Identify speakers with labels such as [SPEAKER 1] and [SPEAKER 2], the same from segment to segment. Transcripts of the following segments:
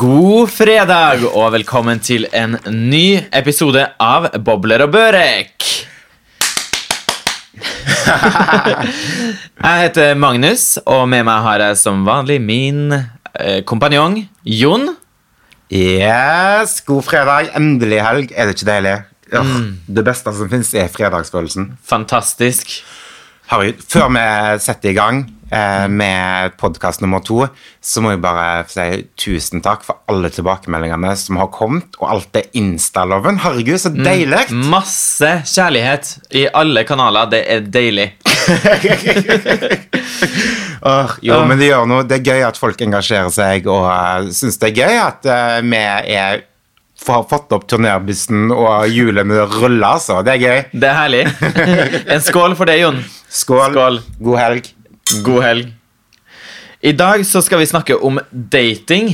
[SPEAKER 1] God fredag, og velkommen til en ny episode av Bobler og Børek. jeg heter Magnus, og med meg har jeg som vanlig min eh, kompanjong Jon.
[SPEAKER 2] Yes, god fredag. Endelig helg. Er det ikke deilig? Ør, Det beste som fins, er fredagsfølelsen.
[SPEAKER 1] Fantastisk.
[SPEAKER 2] Herregud, Før vi setter i gang eh, med podkast nummer to, så må jeg bare si tusen takk for alle tilbakemeldingene som har kommet, og alt det Insta-loven. Herregud, så deilig!
[SPEAKER 1] Mm. Masse kjærlighet i alle kanaler. Det er deilig.
[SPEAKER 2] Åh, jo, men det gjør noe. Det er gøy at folk engasjerer seg, og uh, syns det er gøy at eh, vi er, har fått opp turnerbussen, og hjulene ruller, altså. Det er gøy.
[SPEAKER 1] Det er herlig. en skål for det, Jon.
[SPEAKER 2] Skål.
[SPEAKER 1] Skål.
[SPEAKER 2] God helg.
[SPEAKER 1] God helg. I dag så skal vi snakke om dating,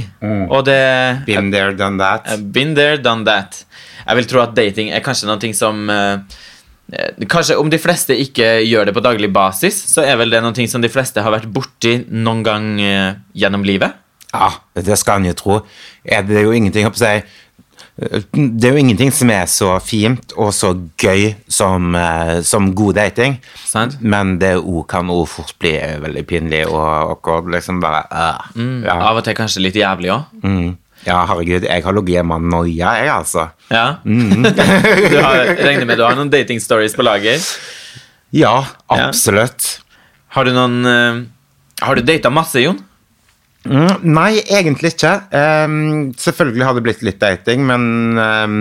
[SPEAKER 1] og det
[SPEAKER 2] Been there, done that.
[SPEAKER 1] Been there, done that. Jeg vil tro at dating er kanskje noe som eh, eh, Kanskje om de fleste ikke gjør det på daglig basis, så er vel det noe som de fleste har vært borti noen gang eh, gjennom livet.
[SPEAKER 2] Ja, det skal en jo tro. Er det jo ingenting, jeg holdt på å si, eh, det er jo ingenting som er så fint og så gøy som, eh, som god dating.
[SPEAKER 1] Sant?
[SPEAKER 2] Men det o- kan òg fort bli eh, veldig pinlig og awkward. Liksom bare eh, ja.
[SPEAKER 1] Av og til kanskje litt jævlig òg.
[SPEAKER 2] Mm. ja, herregud, jeg har ligget hjemme og noia, jeg, altså.
[SPEAKER 1] Ja. du har, regner med du har noen dating stories på lager.
[SPEAKER 2] Ja, absolutt.
[SPEAKER 1] Har du noen eh, Har du data masse, Jon?
[SPEAKER 2] Mm, nei, egentlig ikke. Ehm, selvfølgelig har det blitt litt dating, men ehm,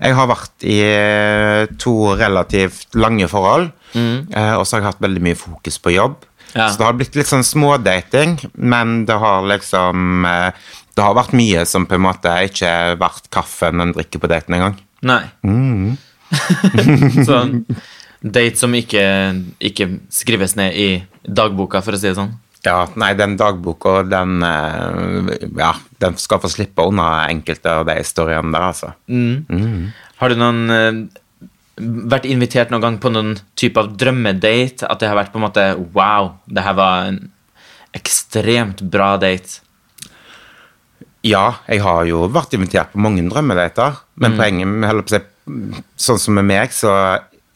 [SPEAKER 2] jeg har vært i eh, to relativt lange forhold. Eh, og så har jeg hatt veldig mye fokus på jobb.
[SPEAKER 1] Ja.
[SPEAKER 2] Så det har blitt litt sånn smådating, men det har liksom eh, Det har vært mye som på en måte ikke har vært kaffen en drikker på daten engang.
[SPEAKER 1] Nei. så date som ikke, ikke skrives ned i dagboka, for å si det sånn.
[SPEAKER 2] Ja, nei, den dagboka, den eh, Ja, den skal få slippe unna enkelte av de historiene der, altså.
[SPEAKER 1] Har du noen eh, vært invitert noen gang på noen type av drømmedate? At det har vært på en måte Wow, det her var en ekstremt bra date.
[SPEAKER 2] Ja, jeg har jo vært invitert på mange drømmedater, men poenget med holdt på å si, Sånn som med meg, så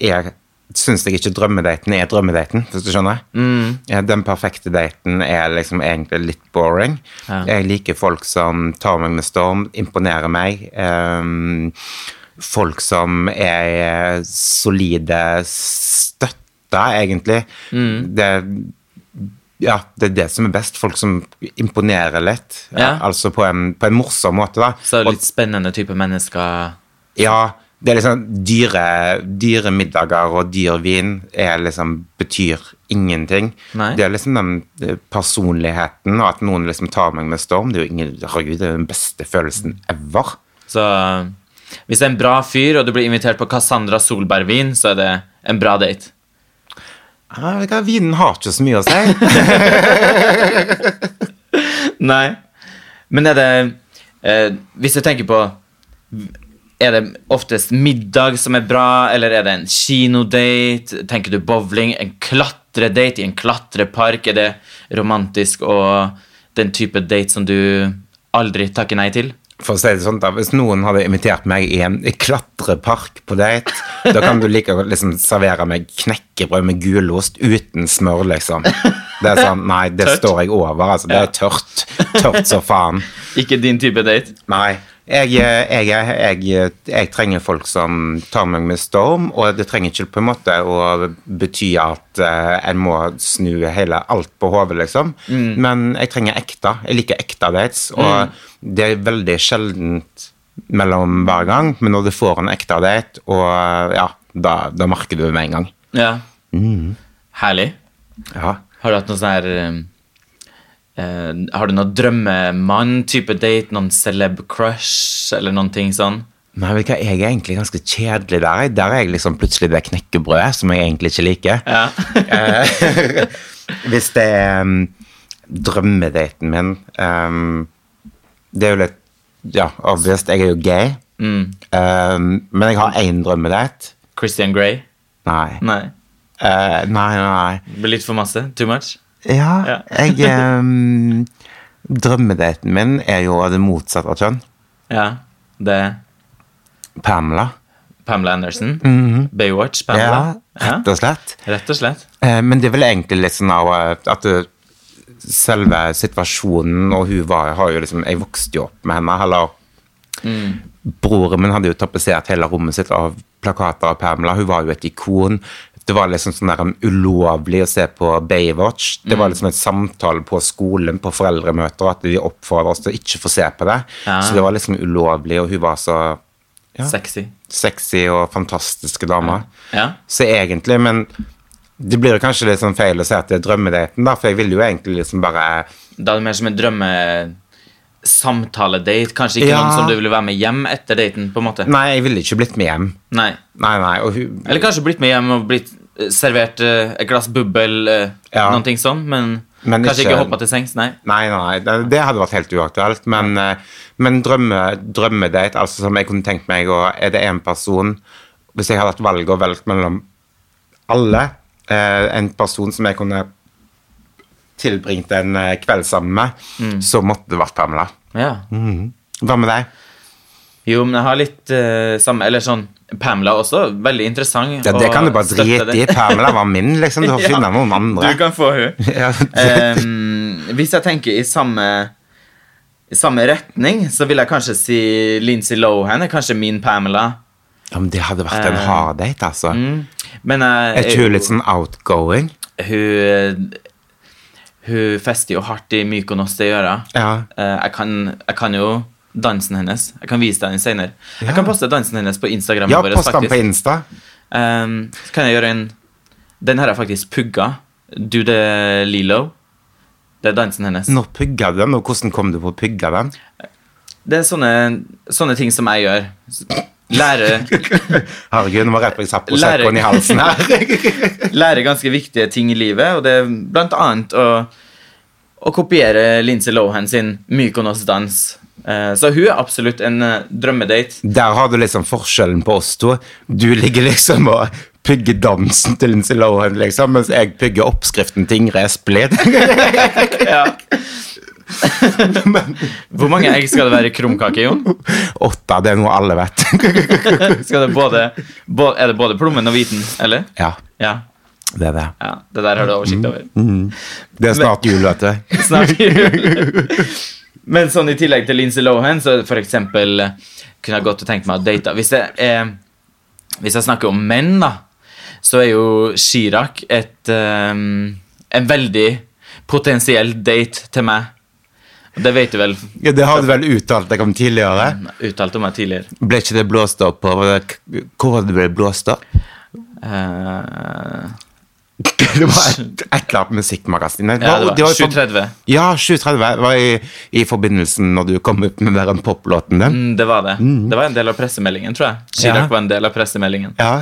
[SPEAKER 2] er Syns jeg ikke drømmedaten er drømmedaten, hvis du skjønner? Ja, Den perfekte daten er liksom egentlig litt boring.
[SPEAKER 1] Ja.
[SPEAKER 2] Jeg liker folk som tar meg med storm, imponerer meg. ehm, folk som er solide støtter, egentlig. Det ja, det er det som er best. Folk som imponerer litt.
[SPEAKER 1] Ja.
[SPEAKER 2] Altså på en, på en morsom måte, da.
[SPEAKER 1] Så
[SPEAKER 2] Og-
[SPEAKER 1] litt spennende type mennesker.
[SPEAKER 2] ja, det er liksom dyre, dyre middager og dyr vin er liksom, betyr ingenting.
[SPEAKER 1] Nei.
[SPEAKER 2] Det er liksom den eh, personligheten, og at noen liksom tar meg med storm, det er jo ingen, herregud, det er den beste følelsen ever.
[SPEAKER 1] Så eh, hvis det er en bra fyr, og du blir invitert på Cassandra Solberg-vin, så er det en bra date. Ah.
[SPEAKER 2] Ja, vet du hva, vinen har ikke så mye å si.
[SPEAKER 1] Nei. Men er det eh, Hvis du tenker på Er det oftest middag som er bra, eller er det en kinodate? Tenker du bowling? En klatredate i en klatrepark? Er det romantisk og den type date som du aldri takker nei til?
[SPEAKER 2] For å si det sånn, da, hvis noen hadde invitert meg i en klatrepark på date, da kan du like godt liksom servere meg knekkebrød med gulost uten smør, liksom. Det er sånn, nei, det
[SPEAKER 1] Tørt.
[SPEAKER 2] står jeg over, altså. Det er tørt. Tørt så faen.
[SPEAKER 1] Ikke din type date?
[SPEAKER 2] Nei. Jeg, jeg, jeg, jeg, jeg trenger folk som tar meg med storm, og det trenger ikke på en måte å bety at eh, en må snu hele alt på hodet, liksom. Men jeg trenger ekte. Jeg liker ekte dates, og det er veldig sjeldent mellom hver gang, men når du får en ekte date, og ja, da, da merker du det med en gang.
[SPEAKER 1] Ja. Herlig.
[SPEAKER 2] Ja.
[SPEAKER 1] Har du hatt noe sånn her eh, eh, Har du noen drømmemann-type date? Noen celeb crush, eller noen ting sånn?
[SPEAKER 2] Nei, vet du hva, jeg er egentlig ganske kjedelig der. jeg. Der er jeg liksom plutselig det knekkebrødet som jeg egentlig ikke liker.
[SPEAKER 1] Ja.
[SPEAKER 2] Eh, Hvis det er um, drømmedaten min um, Det er jo litt Ja, obvious. Jeg er jo gay. Um, men jeg har én drømmedate.
[SPEAKER 1] Christian Grey?
[SPEAKER 2] Nei.
[SPEAKER 1] Nei.
[SPEAKER 2] Eh, nei, nei, nei.
[SPEAKER 1] Det blir litt for masse? Too much?
[SPEAKER 2] Ja,
[SPEAKER 1] Ja.
[SPEAKER 2] jeg um, Drømmedaten min er jo det motsatte av kjønn.
[SPEAKER 1] Ja, det er
[SPEAKER 2] Pamela.
[SPEAKER 1] Pamela Anderson. Baywatch, Pamela.
[SPEAKER 2] Mhm. Ja, rett og slett.
[SPEAKER 1] Ja, rett og slett.
[SPEAKER 2] Eh, Men det er vel egentlig litt sånn av eh, at eh, selve situasjonen Og hun var, har jo liksom Jeg vokste jo opp med henne. Eller
[SPEAKER 1] Mm.
[SPEAKER 2] Broren min hadde jo tapetsert hele rommet sitt av plakater av Pamela. Hun var jo et ikon. Det var liksom sånn der um, ulovlig å se på Baywatch. Det
[SPEAKER 1] Mm.
[SPEAKER 2] var liksom et samtale på skolen, på foreldremøter, at de oppfordret oss til å ikke få se på det.
[SPEAKER 1] Ja.
[SPEAKER 2] Så det var liksom ulovlig, og hun var så ja,
[SPEAKER 1] Sexy.
[SPEAKER 2] sexy og fantastiske damer.
[SPEAKER 1] Ja.
[SPEAKER 2] Så egentlig, men det blir jo kanskje litt sånn feil å si at det er drømmedaten, da, for jeg ville jo egentlig liksom bare
[SPEAKER 1] Da er det mer som en drømme samtaledate. Kanskje ikke
[SPEAKER 2] Ja.
[SPEAKER 1] noen som du ville være med hjem etter daten. på en måte.
[SPEAKER 2] Nei, jeg ville ikke blitt med hjem.
[SPEAKER 1] Nei.
[SPEAKER 2] Nei, nei. Og hun,
[SPEAKER 1] Eller kanskje blitt med hjem og blitt eh, servert eh, et glass bubbel, eh,
[SPEAKER 2] Ja.
[SPEAKER 1] noen ting sånn, men,
[SPEAKER 2] Men
[SPEAKER 1] kanskje ikke,
[SPEAKER 2] ikke-
[SPEAKER 1] hoppa til sengs. Nei.
[SPEAKER 2] Nei, nei, nei, det- det hadde vært helt uaktuelt. Men, eh, men drømme, drømmedate, altså som jeg kunne tenkt meg å Er det én person Hvis jeg hadde hatt valget og valgt mellom alle, eh, en person som jeg kunne tilbringt en eh, kveld sammen med,
[SPEAKER 1] Mm.
[SPEAKER 2] så måtte det vært Pamela.
[SPEAKER 1] Ja.
[SPEAKER 2] Mm. Hva med deg?
[SPEAKER 1] Jo, men jeg har litt eh, samme Eller sånn Pamela også. Veldig interessant.
[SPEAKER 2] Ja, det
[SPEAKER 1] å
[SPEAKER 2] kan du bare
[SPEAKER 1] støtte
[SPEAKER 2] drite i.
[SPEAKER 1] det.
[SPEAKER 2] Pamela var min, liksom. Du får
[SPEAKER 1] Ja.
[SPEAKER 2] finne noen andre.
[SPEAKER 1] Du kan få hun
[SPEAKER 2] Ja,
[SPEAKER 1] Ehm, hvis jeg tenker i samme i samme retning, så vil jeg kanskje si Lindsay Lohan er kanskje min Pamela.
[SPEAKER 2] ja, men det hadde vært en
[SPEAKER 1] Eh.
[SPEAKER 2] hard date, altså.
[SPEAKER 1] Mm. Men jeg,
[SPEAKER 2] Er ikke hun litt sånn outgoing?
[SPEAKER 1] hun, hun fester jo hardt i Mykonos det gjør jeg.
[SPEAKER 2] Ja.
[SPEAKER 1] Eh, jeg, kan, jeg kan jo dansen hennes. Jeg kan vise deg den senere.
[SPEAKER 2] Ja.
[SPEAKER 1] Jeg kan poste dansen hennes på Instagram.
[SPEAKER 2] Ja, post den på Insta.
[SPEAKER 1] Ehm, så kan jeg gjøre en Den her er faktisk pugga. Do the Lilo. Det er dansen hennes.
[SPEAKER 2] Når pugga du den, og hvordan kom du på å pugge den?
[SPEAKER 1] Det er sånne, sånne ting som jeg gjør. Lærer,
[SPEAKER 2] Herregud, nå var rett på jeg satt
[SPEAKER 1] Lærer.
[SPEAKER 2] proseccoen i halsen her.
[SPEAKER 1] lærer ganske viktige ting i livet, og det er blant annet å, å kopiere Lindsay Lohan sin Mykonos-dans. Eh, Så hun er absolutt en eh, drømmedate.
[SPEAKER 2] Der har du liksom forskjellen på oss to. Du ligger liksom og pugger dansen til Lindsay Lohan, liksom, mens jeg pugger oppskriften til Ingrid Espelid.
[SPEAKER 1] Ja. Hvor mange egg skal det være i krumkake, Jon?
[SPEAKER 2] Åtta, det er noe alle vet.
[SPEAKER 1] Skal det både, bå- er det både plommen og hviten, eller?
[SPEAKER 2] Ja,
[SPEAKER 1] Ja.
[SPEAKER 2] det er det.
[SPEAKER 1] ja. Det der har du oversikt over.
[SPEAKER 2] Det er snart jul, vet du.
[SPEAKER 1] snart jul. Men sånn i tillegg til Lindsay Lohan, så for eksempel eh, kunne jeg godt tenkt meg å date hvis jeg, eh, hvis jeg snakker om menn, da, så er jo Chirag et eh, En veldig potensiell date til meg. Det vet du vel.
[SPEAKER 2] Ja, det har du vel uttalt deg om tidligere?
[SPEAKER 1] Uttalt om meg tidligere.
[SPEAKER 2] Ble ikke det blåst opp på Var det- Hvor var det det ble blåst opp?
[SPEAKER 1] Eh,
[SPEAKER 2] Det var et, et eller annet musikkmagasin. Nei,
[SPEAKER 1] ja, det
[SPEAKER 2] jo
[SPEAKER 1] var
[SPEAKER 2] i forb-
[SPEAKER 1] 7.30.
[SPEAKER 2] Ja, 7.30 var i, i forbindelsen når du kom ut med den poplåten din.
[SPEAKER 1] Mm, det var det. Det var en del av pressemeldingen, tror jeg.
[SPEAKER 2] Ja.
[SPEAKER 1] Chirag var en del av pressemeldingen.
[SPEAKER 2] Ja.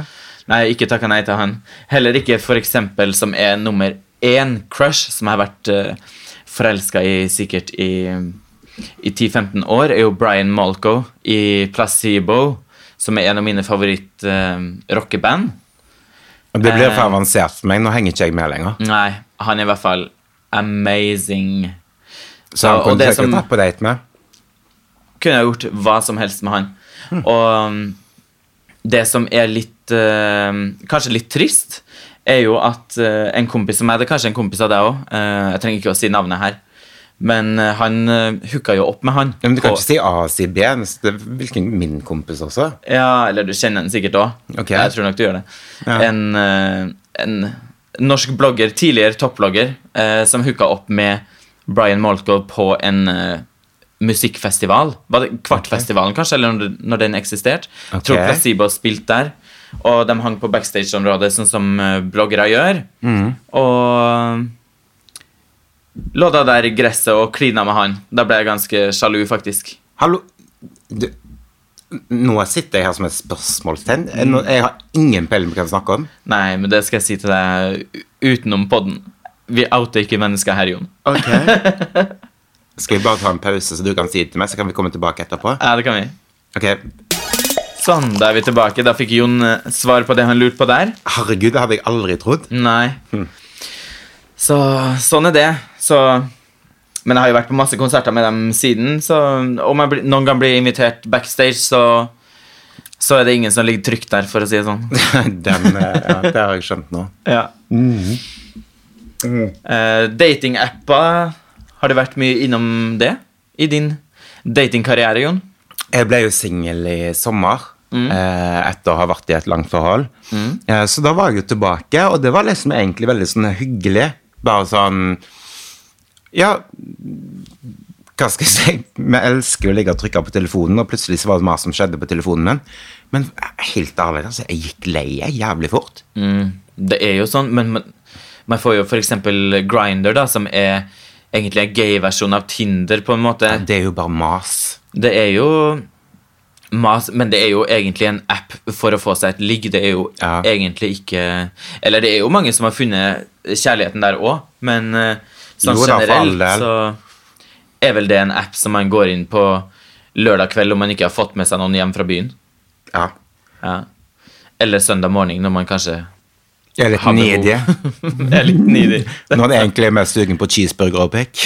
[SPEAKER 1] Nei, ikke takka nei til han. Heller ikke for eksempel som er nummer én crush, som jeg har vært uh, forelska i sikkert i, i 10-15 år, er jo Brian Malco i Placebo, som er en av mine eh, favoritt-rockeband.
[SPEAKER 2] Det blir
[SPEAKER 1] Eh.
[SPEAKER 2] for avansert for meg. Nå henger ikke jeg med lenger.
[SPEAKER 1] nei, han er i hvert fall amazing.
[SPEAKER 2] Så
[SPEAKER 1] Ja,
[SPEAKER 2] han
[SPEAKER 1] og
[SPEAKER 2] kunne
[SPEAKER 1] det
[SPEAKER 2] sikkert
[SPEAKER 1] som-
[SPEAKER 2] vært på date med.
[SPEAKER 1] kunne jeg gjort hva som helst med han.
[SPEAKER 2] Hm.
[SPEAKER 1] Og um, det som er litt eh, Kanskje litt trist, er jo at eh, en kompis som meg Det er kanskje en kompis av deg òg. jeg trenger ikke å si navnet her. Men eh, han uh, hooka jo opp med han.
[SPEAKER 2] Ja, Men du kan
[SPEAKER 1] på-
[SPEAKER 2] ikke si A og si B. men Det er hvilken min kompis også.
[SPEAKER 1] ja, eller du kjenner den sikkert òg.
[SPEAKER 2] Ok.
[SPEAKER 1] Jeg tror nok du gjør det.
[SPEAKER 2] Ja.
[SPEAKER 1] En, eh, en norsk blogger, tidligere toppblogger, eh, som hooka opp med Brian Moltgold på en eh, musikkfestival. Var det Kvartfestivalen, kanskje, eller når, når den eksisterte. Jeg Tror
[SPEAKER 2] Ok.
[SPEAKER 1] Placebo spilte der. Og de hang på backstage-området, sånn som eh, bloggere gjør.
[SPEAKER 2] Mm.
[SPEAKER 1] Og lå da der i gresset og klina med han. Da ble jeg ganske sjalu, faktisk.
[SPEAKER 2] Hallo du, Nå sitter jeg her som et spørsmålstegn. Jeg,
[SPEAKER 1] Mm.
[SPEAKER 2] nå- jeg har ingen peiling på hva vi snakker om.
[SPEAKER 1] Nei, men det skal jeg si til deg u- utenom podden. Vi outer ikke mennesker her, Jon.
[SPEAKER 2] Ok. Skal vi bare ta en pause, så du kan si det til meg, så kan vi komme tilbake etterpå?
[SPEAKER 1] Ja, det kan vi.
[SPEAKER 2] Ok,
[SPEAKER 1] Sånn, da er vi tilbake. Da fikk Jon eh, svar på det han lurte på der.
[SPEAKER 2] Herregud, det hadde jeg aldri trodd.
[SPEAKER 1] Nei. Så sånn er det. Så Men jeg har jo vært på masse konserter med dem siden, så om jeg blir- noen gang blir invitert backstage, så, så er det ingen som ligger trygt der, for å si det sånn.
[SPEAKER 2] Den, eh, ja, det har jeg skjønt nå.
[SPEAKER 1] Ja. Eh, Datingapper, har det vært mye innom det i din datingkarriere, Jon?
[SPEAKER 2] Jeg ble jo singel i sommer. eh, Etter å ha vært i et langt forhold. Eh, Så da var jeg jo tilbake, og det var liksom egentlig veldig sånn hyggelig. Bare sånn Ja, hva skal jeg si? Vi elsker jo å ligge og trykke på telefonen, og plutselig så var det mer som skjedde på telefonen min. Men helt ærlig, altså, jeg gikk lei jeg, jævlig fort.
[SPEAKER 1] Mm, Det er jo sånn, men man, man får jo for eksempel Grindr, da, som er egentlig en gay-versjon av Tinder, på en måte.
[SPEAKER 2] Det er jo bare mas.
[SPEAKER 1] Det er jo mas, men det er jo egentlig en app for å få seg et ligg. Det er jo
[SPEAKER 2] Ja.
[SPEAKER 1] egentlig ikke Eller det er jo mange som har funnet kjærligheten der òg, men eh, sånn
[SPEAKER 2] Jo da, for all
[SPEAKER 1] generelt
[SPEAKER 2] del.
[SPEAKER 1] så er vel det en app som man går inn på lørdag kveld om man ikke har fått med seg noen hjem fra byen.
[SPEAKER 2] Ja.
[SPEAKER 1] Ja. Eller søndag morgen når man kanskje
[SPEAKER 2] Jeg er litt
[SPEAKER 1] har behov.
[SPEAKER 2] needy.
[SPEAKER 1] er litt nidig.
[SPEAKER 2] Når en egentlig er mest sugen på cheeseburger og pikk.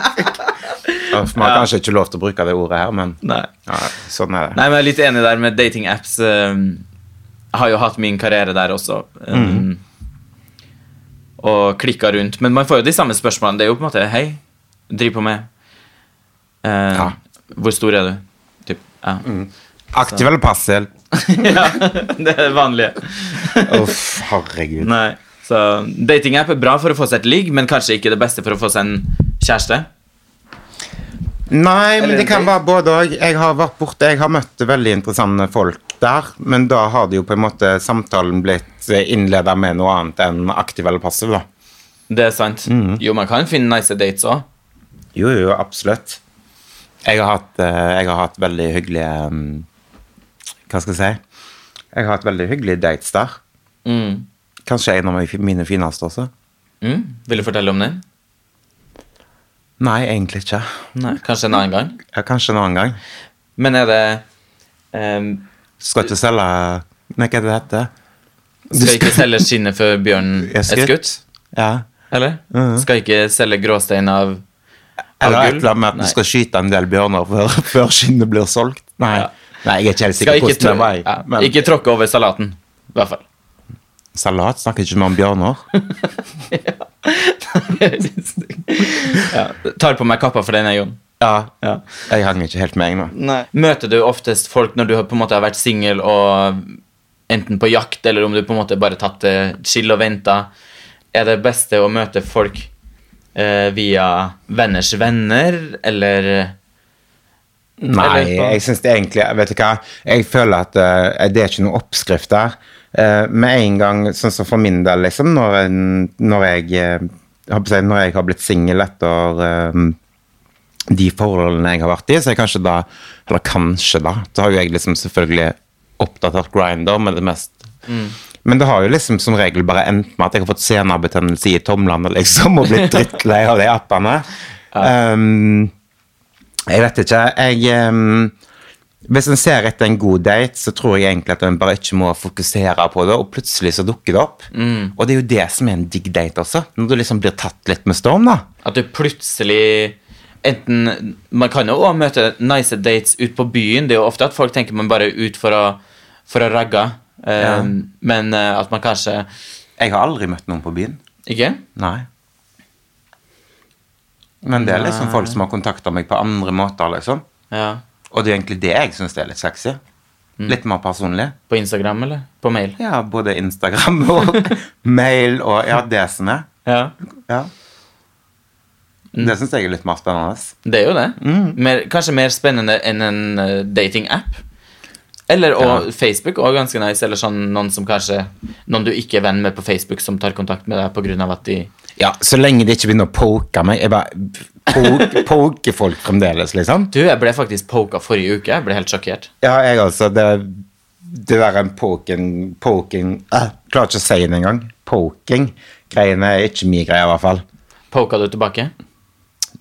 [SPEAKER 2] Uff, Man har kanskje ikke lov til å bruke det ordet her, men
[SPEAKER 1] Nei.
[SPEAKER 2] ja, sånn er det.
[SPEAKER 1] Nei, men jeg er litt enig der med dating-apps. Jeg har jo hatt min karriere der også. Um, Og klikka rundt. Men man får jo de samme spørsmålene. Det er jo på en måte Hei, driv på med eh,
[SPEAKER 2] Ja.
[SPEAKER 1] Hvor stor er du? Typ. Ja.
[SPEAKER 2] Aktiv eller passiv?
[SPEAKER 1] ja, det er det vanlige.
[SPEAKER 2] Uff, herregud.
[SPEAKER 1] Nei. Så dating-app er bra for å få seg et ligg, men kanskje ikke det beste for å få seg en kjæreste.
[SPEAKER 2] Nei, men
[SPEAKER 1] Eller
[SPEAKER 2] det
[SPEAKER 1] en
[SPEAKER 2] kan
[SPEAKER 1] date?
[SPEAKER 2] være både òg. Jeg har vært borte, jeg har møtt veldig interessante folk der, men da har det jo på en måte samtalen blitt innleda med noe annet enn aktiv eller passiv, da.
[SPEAKER 1] Det er sant. Jo, man kan finne nice dates òg.
[SPEAKER 2] Jo, jo, absolutt. Jeg har hatt, eh, jeg har hatt veldig hyggelige mm, Hva skal jeg si? Jeg har hatt veldig hyggelige dates der.
[SPEAKER 1] Mm.
[SPEAKER 2] Kanskje en av mi- mine fineste også?
[SPEAKER 1] Mm. Vil du fortelle om den?
[SPEAKER 2] Nei, egentlig ikke.
[SPEAKER 1] Nei. Kanskje en annen gang?
[SPEAKER 2] Ja, kanskje en annen gang.
[SPEAKER 1] Men er det ehm,
[SPEAKER 2] Skal ikke selge Nei, hva er det det heter?
[SPEAKER 1] Skal ikke selge skinnet før bjørnen
[SPEAKER 2] Er
[SPEAKER 1] er
[SPEAKER 2] skutt?
[SPEAKER 1] skutt?
[SPEAKER 2] Ja.
[SPEAKER 1] Eller? Skal ikke selge gråstein av
[SPEAKER 2] Eller
[SPEAKER 1] Av
[SPEAKER 2] et
[SPEAKER 1] gull?
[SPEAKER 2] eller annet med at du
[SPEAKER 1] Nei.
[SPEAKER 2] skal skyte en del bjørner før, før skinnet blir solgt. Nei.
[SPEAKER 1] Ja.
[SPEAKER 2] Nei, jeg er ikke helt
[SPEAKER 1] Skal
[SPEAKER 2] sikker på
[SPEAKER 1] ikke,
[SPEAKER 2] hvordan det
[SPEAKER 1] trå
[SPEAKER 2] var.
[SPEAKER 1] ja,
[SPEAKER 2] jeg, Men
[SPEAKER 1] ikke tråkke over salaten. I hvert fall.
[SPEAKER 2] salat snakker ikke vi om bjørner.
[SPEAKER 1] ja. Tar på meg kappa for den, jeg, Jon.
[SPEAKER 2] Ja.
[SPEAKER 1] Ja.
[SPEAKER 2] Jeg hang ikke helt med, jeg nå.
[SPEAKER 1] Møter du oftest folk når du har på en måte har vært singel og enten på jakt, eller om du på en måte bare tatt det chill og venta? Er det beste å møte folk eh, via venners venner, eller eh,
[SPEAKER 2] Nei,
[SPEAKER 1] Eller på-
[SPEAKER 2] jeg syns det egentlig Vet du hva, jeg føler at eh, det er ikke noen oppskrift der. Eh, med en gang, sånn som for min del, liksom, når, en- når jeg eh, jeg holdt på å si, Når jeg har blitt singel etter eh, de forholdene jeg har vært i, så er jeg kanskje da Eller kanskje, da. Så har jo jeg liksom selvfølgelig oppdatert grinder med det mest. Men det har jo liksom som regel bare endt med at jeg har fått senebetennelse i tomlene, liksom, og blitt drittlei av de appene. Um, jeg vet ikke. Jeg, ehm, hvis en ser etter en god date, så tror jeg egentlig at en bare ikke må fokusere på det, og plutselig så dukker det opp. Og det er jo det som er en digg date også, når du liksom blir tatt litt med storm, da.
[SPEAKER 1] At du plutselig Enten Man kan jo òg møte nice dates ut på byen. Det er jo ofte at folk tenker man bare er ut for å, for å ragge. Eh,
[SPEAKER 2] Ja.
[SPEAKER 1] Men eh, at man kanskje
[SPEAKER 2] Jeg har aldri møtt noen på byen.
[SPEAKER 1] Ikke?
[SPEAKER 2] Nei. Men det er liksom folk som har kontakta meg på andre måter, liksom.
[SPEAKER 1] Ja.
[SPEAKER 2] Og det er egentlig det jeg syns er litt sexy. Litt mer personlig.
[SPEAKER 1] På Instagram, eller? På mail?
[SPEAKER 2] Ja, både Instagram og mail og ja, det som er.
[SPEAKER 1] Ja.
[SPEAKER 2] Ja. Det syns jeg er litt mer spennende.
[SPEAKER 1] Det er jo det. Mer, kanskje mer spennende enn en eh, dating-app. Eller og Facebook òg ganske nice. Eller sånn noen som kanskje Noen du ikke er venn med på Facebook, som tar kontakt med deg pga. at de
[SPEAKER 2] Ja, så lenge de ikke begynner å poke meg. Jeg bare poke, poke folk fremdeles, liksom.
[SPEAKER 1] Du, jeg ble faktisk poka forrige uke. Jeg ble helt sjokkert.
[SPEAKER 2] Ja, jeg altså. Det, det der en poking, poking øh, Klarer ikke å si det engang. Poking. Greiene er ikke min greie, i hvert fall.
[SPEAKER 1] Poka du tilbake?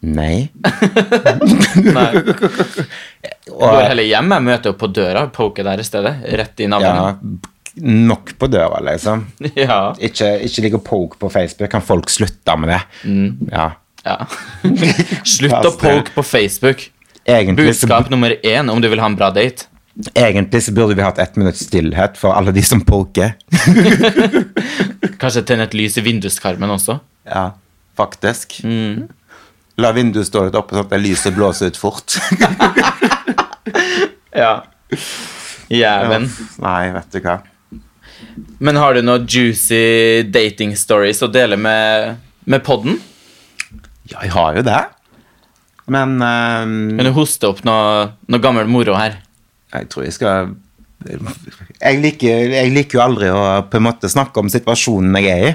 [SPEAKER 2] Nei.
[SPEAKER 1] Nei. Går
[SPEAKER 2] Og
[SPEAKER 1] heller hjem. Jeg møter opp på døra, poker der i stedet. Rett i
[SPEAKER 2] ja,
[SPEAKER 1] navnet.
[SPEAKER 2] nok på døra, liksom.
[SPEAKER 1] Ja.
[SPEAKER 2] Ikke, ikke ligge og poke på Facebook. Kan folk slutte med det? Ja.
[SPEAKER 1] Ja. Slutt å
[SPEAKER 2] Altså,
[SPEAKER 1] poke på Facebook.
[SPEAKER 2] Egentlig så,
[SPEAKER 1] Budskap nummer én om du vil ha en bra date.
[SPEAKER 2] egentlig så burde vi hatt ett minutts stillhet for alle de som poker.
[SPEAKER 1] Kanskje tenne et lys i vinduskarmen også.
[SPEAKER 2] Ja, faktisk. La vinduet stå litt oppe sånn at det lyset blåser ut fort.
[SPEAKER 1] Ja. Jæven.
[SPEAKER 2] Nei, vet du hva.
[SPEAKER 1] Men har du noen juicy dating stories å dele med, med podden?
[SPEAKER 2] Ja, jeg har jo det. Men ehm,
[SPEAKER 1] Kan du hoste opp noe, noe gammel moro her?
[SPEAKER 2] jeg tror jeg skal jeg liker, jeg liker jo aldri å på en måte snakke om situasjonen jeg er i,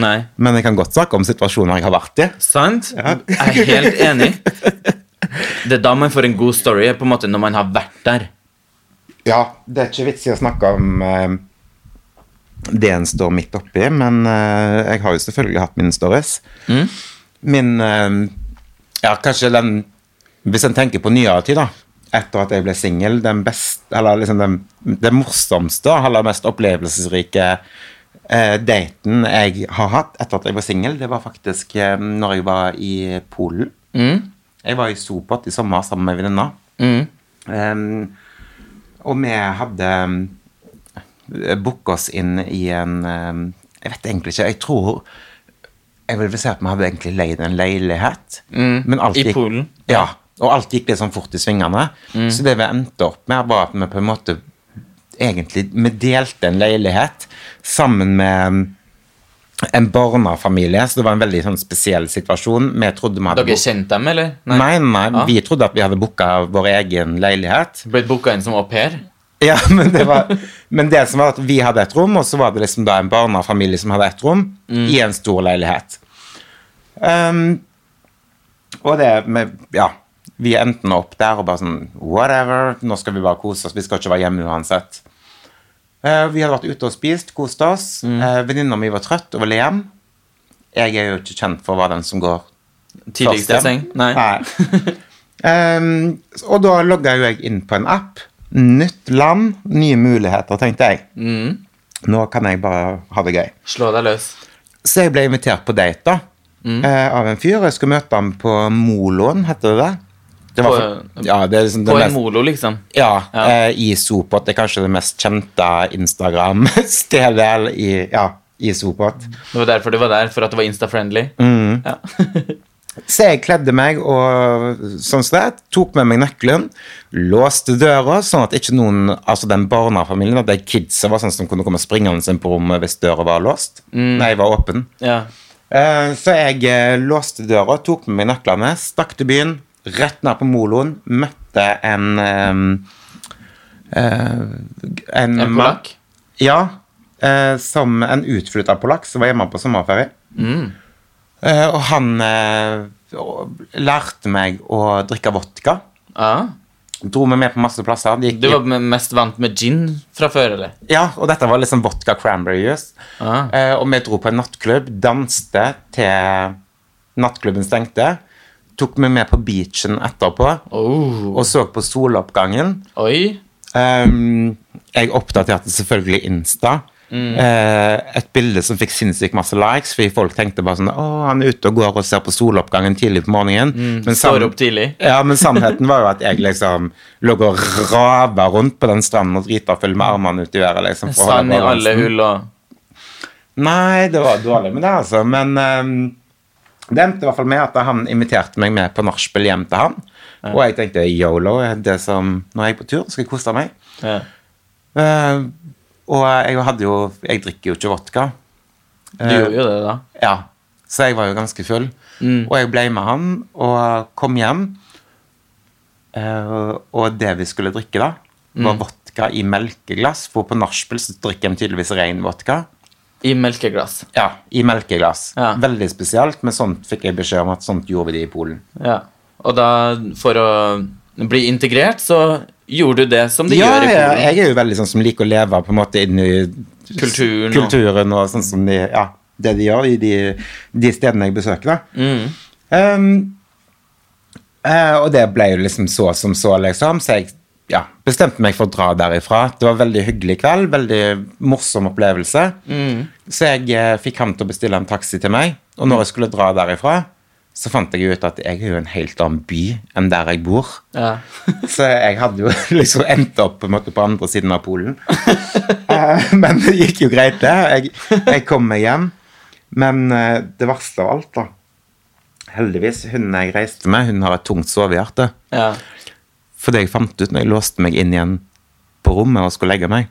[SPEAKER 1] Nei.
[SPEAKER 2] men jeg kan godt snakke om situasjoner jeg har vært i.
[SPEAKER 1] Sant? Jeg er helt enig. Det er da man får en god story, på en måte når man har vært der.
[SPEAKER 2] Ja, det er ikke vits i å snakke om ehm, det en står midt oppi, men eh, jeg har jo selvfølgelig hatt mine stories. Min ehm, Ja, kanskje den Hvis en tenker på nyere tid, da. Etter at jeg ble singel, den best, eller liksom den, den morsomste og aller mest opplevelsesrike eh, daten jeg har hatt etter at jeg var singel, det var faktisk eh, når jeg var i Polen. Jeg var i Sopot i sommer sammen med venninna.
[SPEAKER 1] Mm.
[SPEAKER 2] Em, og vi hadde em, booke oss inn i en eh, Jeg vet egentlig ikke. Jeg tror Jeg vil vel si at vi hadde egentlig leid en leilighet. men
[SPEAKER 1] Mm.
[SPEAKER 2] alt
[SPEAKER 1] i
[SPEAKER 2] gikk-
[SPEAKER 1] Polen.
[SPEAKER 2] Ja. Og alt gikk litt sånn fort i svingene.
[SPEAKER 1] Mm.
[SPEAKER 2] Så det vi endte opp med, var at vi på en måte egentlig Vi delte en leilighet sammen med en barnefamilie, så det var en veldig sånn spesiell situasjon. Vi trodde vi hadde
[SPEAKER 1] Dere
[SPEAKER 2] bo-
[SPEAKER 1] kjente dem, eller?
[SPEAKER 2] Nei, nei,
[SPEAKER 1] Ja.
[SPEAKER 2] vi trodde at vi hadde booka vår egen leilighet.
[SPEAKER 1] Ble booka inn som au pair?
[SPEAKER 2] Ja, men det var Men det som var at vi hadde et rom, og så var det liksom da en barnefamilie som hadde et rom i en stor leilighet. Ehm, og det med Ja. Vi endte nå opp der og bare sånn Whatever. Nå skal vi bare kose oss. Vi skal ikke være hjemme uansett. Eh, vi hadde vært ute og spist, kost oss.
[SPEAKER 1] Mm.
[SPEAKER 2] Eh, Venninna mi var trøtt og ville hjem. Jeg er jo ikke kjent for å være den som går
[SPEAKER 1] Tidligste
[SPEAKER 2] Første.
[SPEAKER 1] seng? Nei.
[SPEAKER 2] Ehm, og da logga jo jeg inn på en app. Nytt land, nye muligheter, tenkte jeg.
[SPEAKER 1] Mm.
[SPEAKER 2] Nå kan jeg bare ha det gøy.
[SPEAKER 1] Slå deg løs.
[SPEAKER 2] Så jeg ble invitert på date da,
[SPEAKER 1] Mm.
[SPEAKER 2] eh, av en fyr. Jeg skulle møte ham på Moloen, heter det det? det var,
[SPEAKER 1] På-
[SPEAKER 2] ja, det er liksom den
[SPEAKER 1] På
[SPEAKER 2] mest-
[SPEAKER 1] en molo, liksom.
[SPEAKER 2] ja,
[SPEAKER 1] Ja.
[SPEAKER 2] Eh, i Sopot. Det er kanskje det mest kjente Instagram-stedet eller i, ja, i Sopot.
[SPEAKER 1] Det var derfor du var der, for at det var Insta-friendly. Ja.
[SPEAKER 2] Så jeg kledde meg og sånn som det, tok med meg nøkkelen, låste døra, sånn at ikke noen, altså den barnefamilien, at de kidsa var sånn som kunne komme springende inn på rommet hvis døra var låst.
[SPEAKER 1] Mm.
[SPEAKER 2] Nei, var åpen.
[SPEAKER 1] ja.
[SPEAKER 2] Eh, Så jeg eh, låste døra, tok med meg nøklene, stakk til byen, rett ned på moloen, møtte en eh, eh, En,
[SPEAKER 1] En
[SPEAKER 2] mann-
[SPEAKER 1] polakk?
[SPEAKER 2] ja, eh, som en utflytta polakk som var hjemme på sommerferie. Eh, og han eh, og- lærte meg å drikke vodka.
[SPEAKER 1] Ja.
[SPEAKER 2] Dro meg med på masse plasser. Det Gikk,
[SPEAKER 1] Du var m- mest vant med gin fra før, eller?
[SPEAKER 2] Ja, og dette var liksom vodka cranberry juice.
[SPEAKER 1] Ah.
[SPEAKER 2] Eh, og vi dro på en nattklubb, danste til nattklubben stengte. Tok meg med på beachen etterpå
[SPEAKER 1] Oh.
[SPEAKER 2] og så på soloppgangen.
[SPEAKER 1] Oi.
[SPEAKER 2] Ehm, jeg oppdaterte selvfølgelig Insta.
[SPEAKER 1] Mm.
[SPEAKER 2] Eh, et bilde som fikk sinnssykt masse likes, fordi folk tenkte bare sånn Å, han er ute og går og ser på soloppgangen tidlig på morgenen. men,
[SPEAKER 1] Mm. Står
[SPEAKER 2] sann-
[SPEAKER 1] opp tidlig.
[SPEAKER 2] ja, men sannheten var jo at jeg liksom lå og rava rundt på den stranden og drita full med armene ut i været. Liksom, for å holde
[SPEAKER 1] Sand i
[SPEAKER 2] balansen.
[SPEAKER 1] alle hull og
[SPEAKER 2] Nei, det var dårlig med det, altså. Men ehm, det endte i hvert fall med at han inviterte meg med på nachspiel hjem til han. Og jeg tenkte yolo, det som, når jeg er på tur, skal jeg kose meg.
[SPEAKER 1] ja.
[SPEAKER 2] Eh, og jeg hadde jo Jeg drikker jo ikke vodka.
[SPEAKER 1] Du
[SPEAKER 2] Eh.
[SPEAKER 1] gjorde jo det, da.
[SPEAKER 2] Ja. Så jeg var jo ganske full. Og jeg ble med han og kom hjem. Eh, og det vi skulle drikke, da, var vodka i melkeglass. For på nachspiel så drikker de tydeligvis ren vodka.
[SPEAKER 1] I melkeglass.
[SPEAKER 2] Ja, I melkeglass.
[SPEAKER 1] Ja.
[SPEAKER 2] Veldig spesielt, men sånt fikk jeg beskjed om at sånt gjorde vi det i Polen.
[SPEAKER 1] Ja. Og da, for å bli integrert, så gjorde du det som de
[SPEAKER 2] ja,
[SPEAKER 1] gjør i
[SPEAKER 2] ja,
[SPEAKER 1] Polen.
[SPEAKER 2] jeg er jo veldig sånn som liker å leve på en måte inni
[SPEAKER 1] Kulturen og-
[SPEAKER 2] kulturen og sånn som de, ja, det de gjør i de, de stedene jeg besøker. Da.
[SPEAKER 1] Mm.
[SPEAKER 2] Ehm, eh, og det ble jo liksom så som så, liksom. Så jeg ja, bestemte meg for å dra derifra. Det var en veldig hyggelig kveld, veldig morsom opplevelse.
[SPEAKER 1] Mm.
[SPEAKER 2] Så jeg eh, fikk han til å bestille en taxi til meg. Og når jeg skulle dra derifra, så fant jeg jo ut at jeg er jo en helt annen by enn der jeg bor.
[SPEAKER 1] Ja.
[SPEAKER 2] Så jeg hadde jo liksom endt opp på, en måte, på andre siden av Polen. Eh, Men det gikk jo greit, det. Jeg, jeg kom meg hjem. Men eh, det verste av alt, da Heldigvis, hun jeg reiste med, hun har et tungt sovehjerte.
[SPEAKER 1] ja.
[SPEAKER 2] For det jeg fant ut når jeg låste meg inn igjen på rommet og skulle legge meg,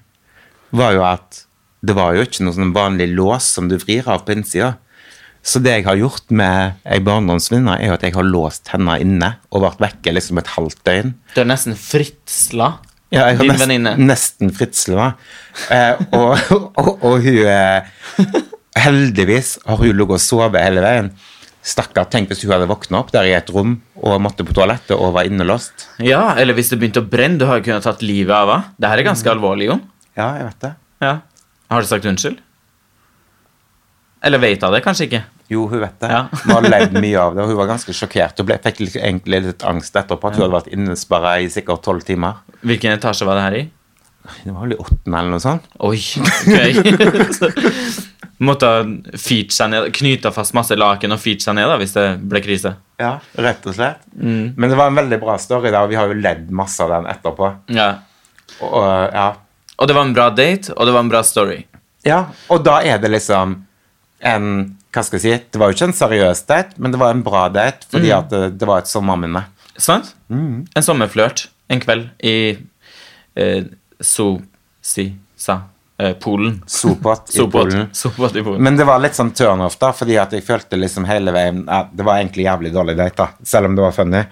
[SPEAKER 2] var jo at det var jo ikke noe sånn vanlig lås som du vrir av på innsida. Så det jeg har gjort med ei barndomsvenninne, er jo at jeg har låst henne inne og vært vekke liksom et halvt døgn.
[SPEAKER 1] Du er nesten fritsla.
[SPEAKER 2] Ja, jeg har
[SPEAKER 1] Din
[SPEAKER 2] nesten,
[SPEAKER 1] venninne.
[SPEAKER 2] nesten fritslua. Eh, og, og, og hun eh, Heldigvis har hun ligget og sovet hele veien. Stakkar, tenk hvis hun hadde våkna opp der i et rom og måtte på toalettet og var innelåst.
[SPEAKER 1] Ja, eller hvis det begynte å brenne. Du har jo kunnet tatt livet av henne. Det her er ganske
[SPEAKER 2] Mm.
[SPEAKER 1] alvorlig, Jon.
[SPEAKER 2] Ja, jeg vet det.
[SPEAKER 1] Ja. Har du sagt unnskyld? Eller vet hun det kanskje ikke?
[SPEAKER 2] Jo, hun vet det.
[SPEAKER 1] Ja.
[SPEAKER 2] Hun har levd mye av det, og hun var ganske sjokkert. Hun ble, fikk litt- egentlig litt angst etterpå, at hun hadde vært innesperra i sikkert tolv timer.
[SPEAKER 1] Hvilken etasje var det her i?
[SPEAKER 2] Det var vel i åttende eller noe sånt.
[SPEAKER 1] Oi, ok. Så Måtte hun feet seg ned, knyte fast masse laken og feet seg ned da, hvis det ble krise.
[SPEAKER 2] Ja, Rett og slett.
[SPEAKER 1] Mm.
[SPEAKER 2] Men det var en veldig bra story, da, og vi har jo ledd masse av den etterpå.
[SPEAKER 1] Ja.
[SPEAKER 2] Og, og, ja.
[SPEAKER 1] Og det var en bra date, og det var en bra story.
[SPEAKER 2] ja, og da er det liksom en Hva skal jeg si? Det var jo ikke en seriøs date, men det var en bra date, fordi at det, det var et sommerminne.
[SPEAKER 1] Sant?
[SPEAKER 2] Mm.
[SPEAKER 1] En sommerflørt en kveld i eh, so, si, sa, eh, Polen.
[SPEAKER 2] Sopot i
[SPEAKER 1] Sopot.
[SPEAKER 2] Polen.
[SPEAKER 1] Sopot i Polen.
[SPEAKER 2] Men det var litt sånn turn-off, da, fordi at jeg følte liksom hele veien at det var egentlig jævlig dårlig date, da, selv om det var funny.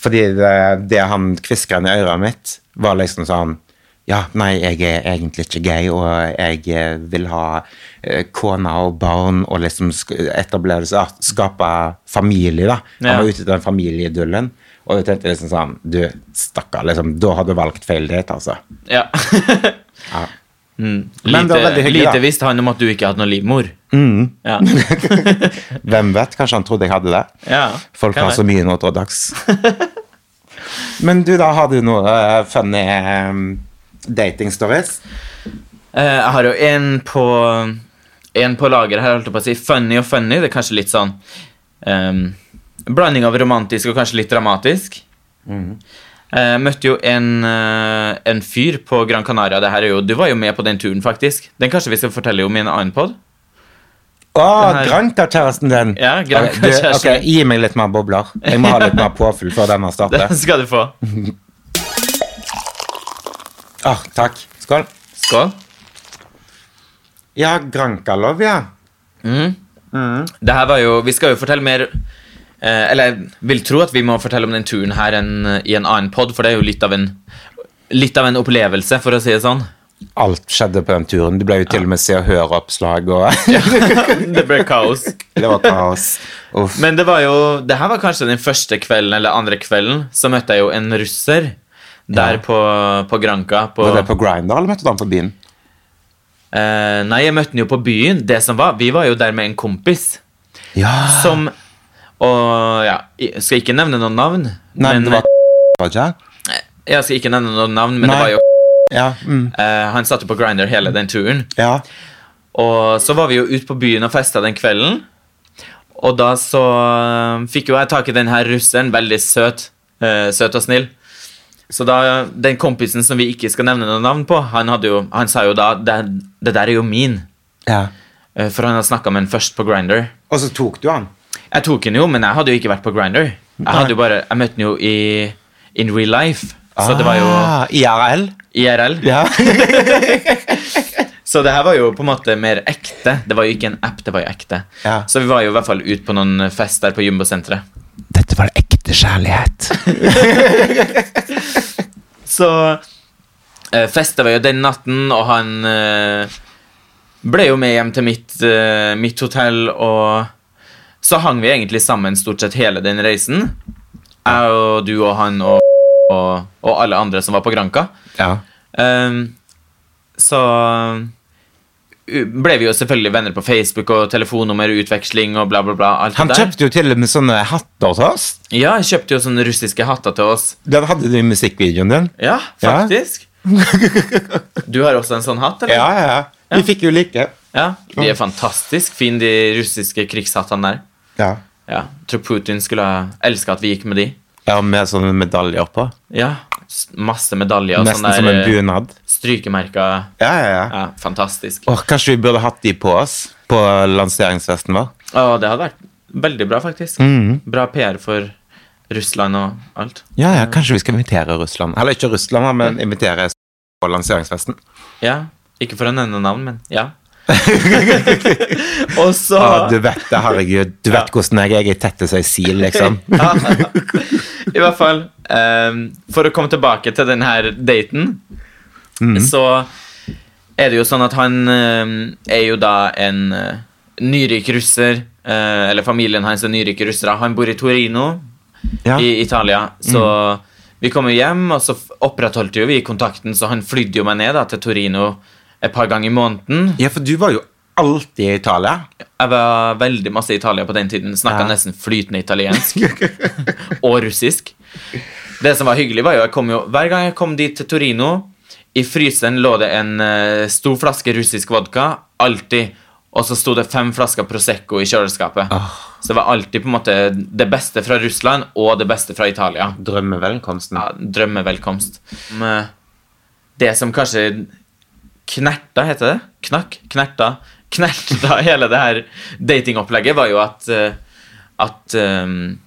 [SPEAKER 2] Fordi det, det han kviskeren i øret mitt, var liksom sånn Ja, nei, jeg er egentlig ikke gay, og jeg eh, vil ha eh, kone og barn og liksom sk- etablere seg, skape familie, da. Han
[SPEAKER 1] Ja.
[SPEAKER 2] var ute etter den familieidyllen. Og jeg tenkte liksom sånn Du, stakkar, liksom. Da har du valgt feil date, altså.
[SPEAKER 1] Ja. Mm.
[SPEAKER 2] Men det
[SPEAKER 1] Lite,
[SPEAKER 2] var veldig hyggelig, da. Mm.
[SPEAKER 1] lite visste han om at du ikke hadde noen livmor. Ja.
[SPEAKER 2] Hvem vet? Kanskje han trodde jeg hadde det.
[SPEAKER 1] Ja.
[SPEAKER 2] Folk
[SPEAKER 1] Kan
[SPEAKER 2] har
[SPEAKER 1] det.
[SPEAKER 2] så mye nå til dags. Men du, da har du noe eh, funny em, dating stories?
[SPEAKER 1] Eh, Jeg har jo en på En på lager her, holdt jeg på å si. Funny og funny. Det er kanskje litt sånn ehm, Blanding av romantisk og kanskje litt dramatisk. Eh, møtte jo en, eh, en fyr på Gran Canaria. Det her er jo, du var jo med på den turen, faktisk. Den kanskje vi skal fortelle om i en annen pod.
[SPEAKER 2] Å,
[SPEAKER 1] Det her-
[SPEAKER 2] Granca-kjæresten din!
[SPEAKER 1] Ja, Granca
[SPEAKER 2] Ok, du,
[SPEAKER 1] kjæresten.
[SPEAKER 2] ok, Gi meg litt mer bobler. Jeg må ha litt mer påfyll før denne starter.
[SPEAKER 1] Den skal du få.
[SPEAKER 2] Åh, Ah, takk. Skål.
[SPEAKER 1] Skål.
[SPEAKER 2] Ja, Granca-lov, ja.
[SPEAKER 1] Mm. Det her var jo Vi skal jo fortelle mer eh, Eller jeg vil tro at vi må fortelle om den turen her en, i en annen pod, for det er jo litt av en Litt av en opplevelse, for å si det sånn.
[SPEAKER 2] Alt skjedde på den turen. Det ble jo til og med Se og Hør-oppslag, og
[SPEAKER 1] Det ble kaos.
[SPEAKER 2] det var kaos. Uff.
[SPEAKER 1] Men det var jo Det her var kanskje den første kvelden eller andre kvelden, så møtte jeg jo en russer der på, på Granca. På,
[SPEAKER 2] Var det på Grindr, eller møtte du han på byen?
[SPEAKER 1] eh, nei, jeg møtte den jo på byen. Det som var, Vi var jo der med en kompis
[SPEAKER 2] Ja.
[SPEAKER 1] som Og ja, jeg skal ikke nevne noen navn.
[SPEAKER 2] Nei,
[SPEAKER 1] men, eh,
[SPEAKER 2] men det var var det ikke?
[SPEAKER 1] Jeg skal ikke nevne noen navn, men
[SPEAKER 2] Nei.
[SPEAKER 1] det var jo
[SPEAKER 2] Ja. Mm.
[SPEAKER 1] Eh, han satt jo på Grindr hele den turen.
[SPEAKER 2] ja.
[SPEAKER 1] Og så var vi jo ute på byen og festa den kvelden. Og da så eh, fikk jo jeg tak i den her russeren. Veldig søt. eh, søt og snill. Så da, den kompisen som vi ikke skal nevne noe navn på, han, hadde jo, han sa jo da det, 'Det der er jo min',
[SPEAKER 2] ja.
[SPEAKER 1] eh, for han hadde snakka med den først på Grindr.
[SPEAKER 2] Og så tok du han.
[SPEAKER 1] Jeg tok den jo, men jeg hadde jo ikke vært på Grindr. Jeg, hadde jo bare, jeg møtte den jo i in real life. Så det var jo
[SPEAKER 2] Ah, IRL?
[SPEAKER 1] IRL.
[SPEAKER 2] Ja.
[SPEAKER 1] Så det her var jo på en måte mer ekte. Det var jo ikke en app, det var jo ekte.
[SPEAKER 2] Ja.
[SPEAKER 1] Så vi var jo i hvert fall ut på noen fest der på Jumbo-senteret.
[SPEAKER 2] Dette var ekte kjærlighet.
[SPEAKER 1] Så eh, festa vi jo den natten, og han eh, ble jo med hjem til mitt, eh, mitt hotell, og så hang vi egentlig sammen stort sett hele den reisen. Jeg og du og han og, og, og alle andre som var på Granka.
[SPEAKER 2] Ja.
[SPEAKER 1] Ehm, så eh, u- ble vi jo selvfølgelig venner på Facebook og telefonnummer, utveksling og bla, bla, bla. Alt
[SPEAKER 2] Han
[SPEAKER 1] det der.
[SPEAKER 2] kjøpte jo til og med sånne hatter til oss.
[SPEAKER 1] Ja, jeg kjøpte jo sånne russiske hatter til oss.
[SPEAKER 2] Den hadde du i musikkvideoen din.
[SPEAKER 1] Ja,
[SPEAKER 2] Ja.
[SPEAKER 1] faktisk. Du har også en sånn hatt, eller?
[SPEAKER 2] Ja, ja, ja. Vi fikk jo like.
[SPEAKER 1] Ja, De er fantastisk fine, de russiske krigshattene der.
[SPEAKER 2] Ja.
[SPEAKER 1] Ja, tror Putin skulle ha elska at vi gikk med de.
[SPEAKER 2] Ja, med sånne medaljer på.
[SPEAKER 1] Ja, s- Masse medaljer og
[SPEAKER 2] Nesten
[SPEAKER 1] sånne
[SPEAKER 2] som en
[SPEAKER 1] der, eh,
[SPEAKER 2] bunad.
[SPEAKER 1] strykemerker.
[SPEAKER 2] Ja, ja, ja.
[SPEAKER 1] Ja, fantastisk.
[SPEAKER 2] Åh, kanskje vi burde hatt de på oss på lanseringsfesten vår?
[SPEAKER 1] Og det hadde vært veldig bra, faktisk.
[SPEAKER 2] Mm.
[SPEAKER 1] Bra PR for Russland og alt.
[SPEAKER 2] Ja, ja, kanskje vi skal invitere Russland. Eller ikke Russland, da, men invitere s- på lanseringsfesten.
[SPEAKER 1] Ja, ikke for å nevne navn, men ja. og så
[SPEAKER 2] Åh, Ah, du vet det, herregud. Du vet hvordan jeg er. Jeg er tett til seg sil, liksom.
[SPEAKER 1] Ja. I hvert fall, ehm, for å komme tilbake til denne her daten,
[SPEAKER 2] Mm.
[SPEAKER 1] så er det jo sånn at han ehm, er jo da en eh, nyrik russer, eh, eller familien hans er nyrike russere. Han bor i Torino
[SPEAKER 2] Ja. Mm.
[SPEAKER 1] i Italia, så vi kom jo hjem, og så f- opprettholdt jo vi kontakten, så han flydde jo meg ned da, til Torino et par ganger i måneden.
[SPEAKER 2] ja, for du var jo alltid i Italia.
[SPEAKER 1] Jeg var veldig masse i Italia på den tiden. Snakka
[SPEAKER 2] Ja.
[SPEAKER 1] nesten flytende italiensk. og russisk. Det som var hyggelig, var jo jeg kom jo Hver gang jeg kom dit til Torino, i fryseren lå det en eh, stor flaske russisk vodka. Alltid. Og så sto det fem flasker Prosecco i kjøleskapet. Så det var alltid på en måte det beste fra Russland og det beste fra Italia.
[SPEAKER 2] Drømmevelkomsten.
[SPEAKER 1] Ja, drømmevelkomst. Men eh, Det som kanskje knerta, heter det? Knakk? Knerta. Knerta hele det her datingopplegget, var jo at eh, At ehm,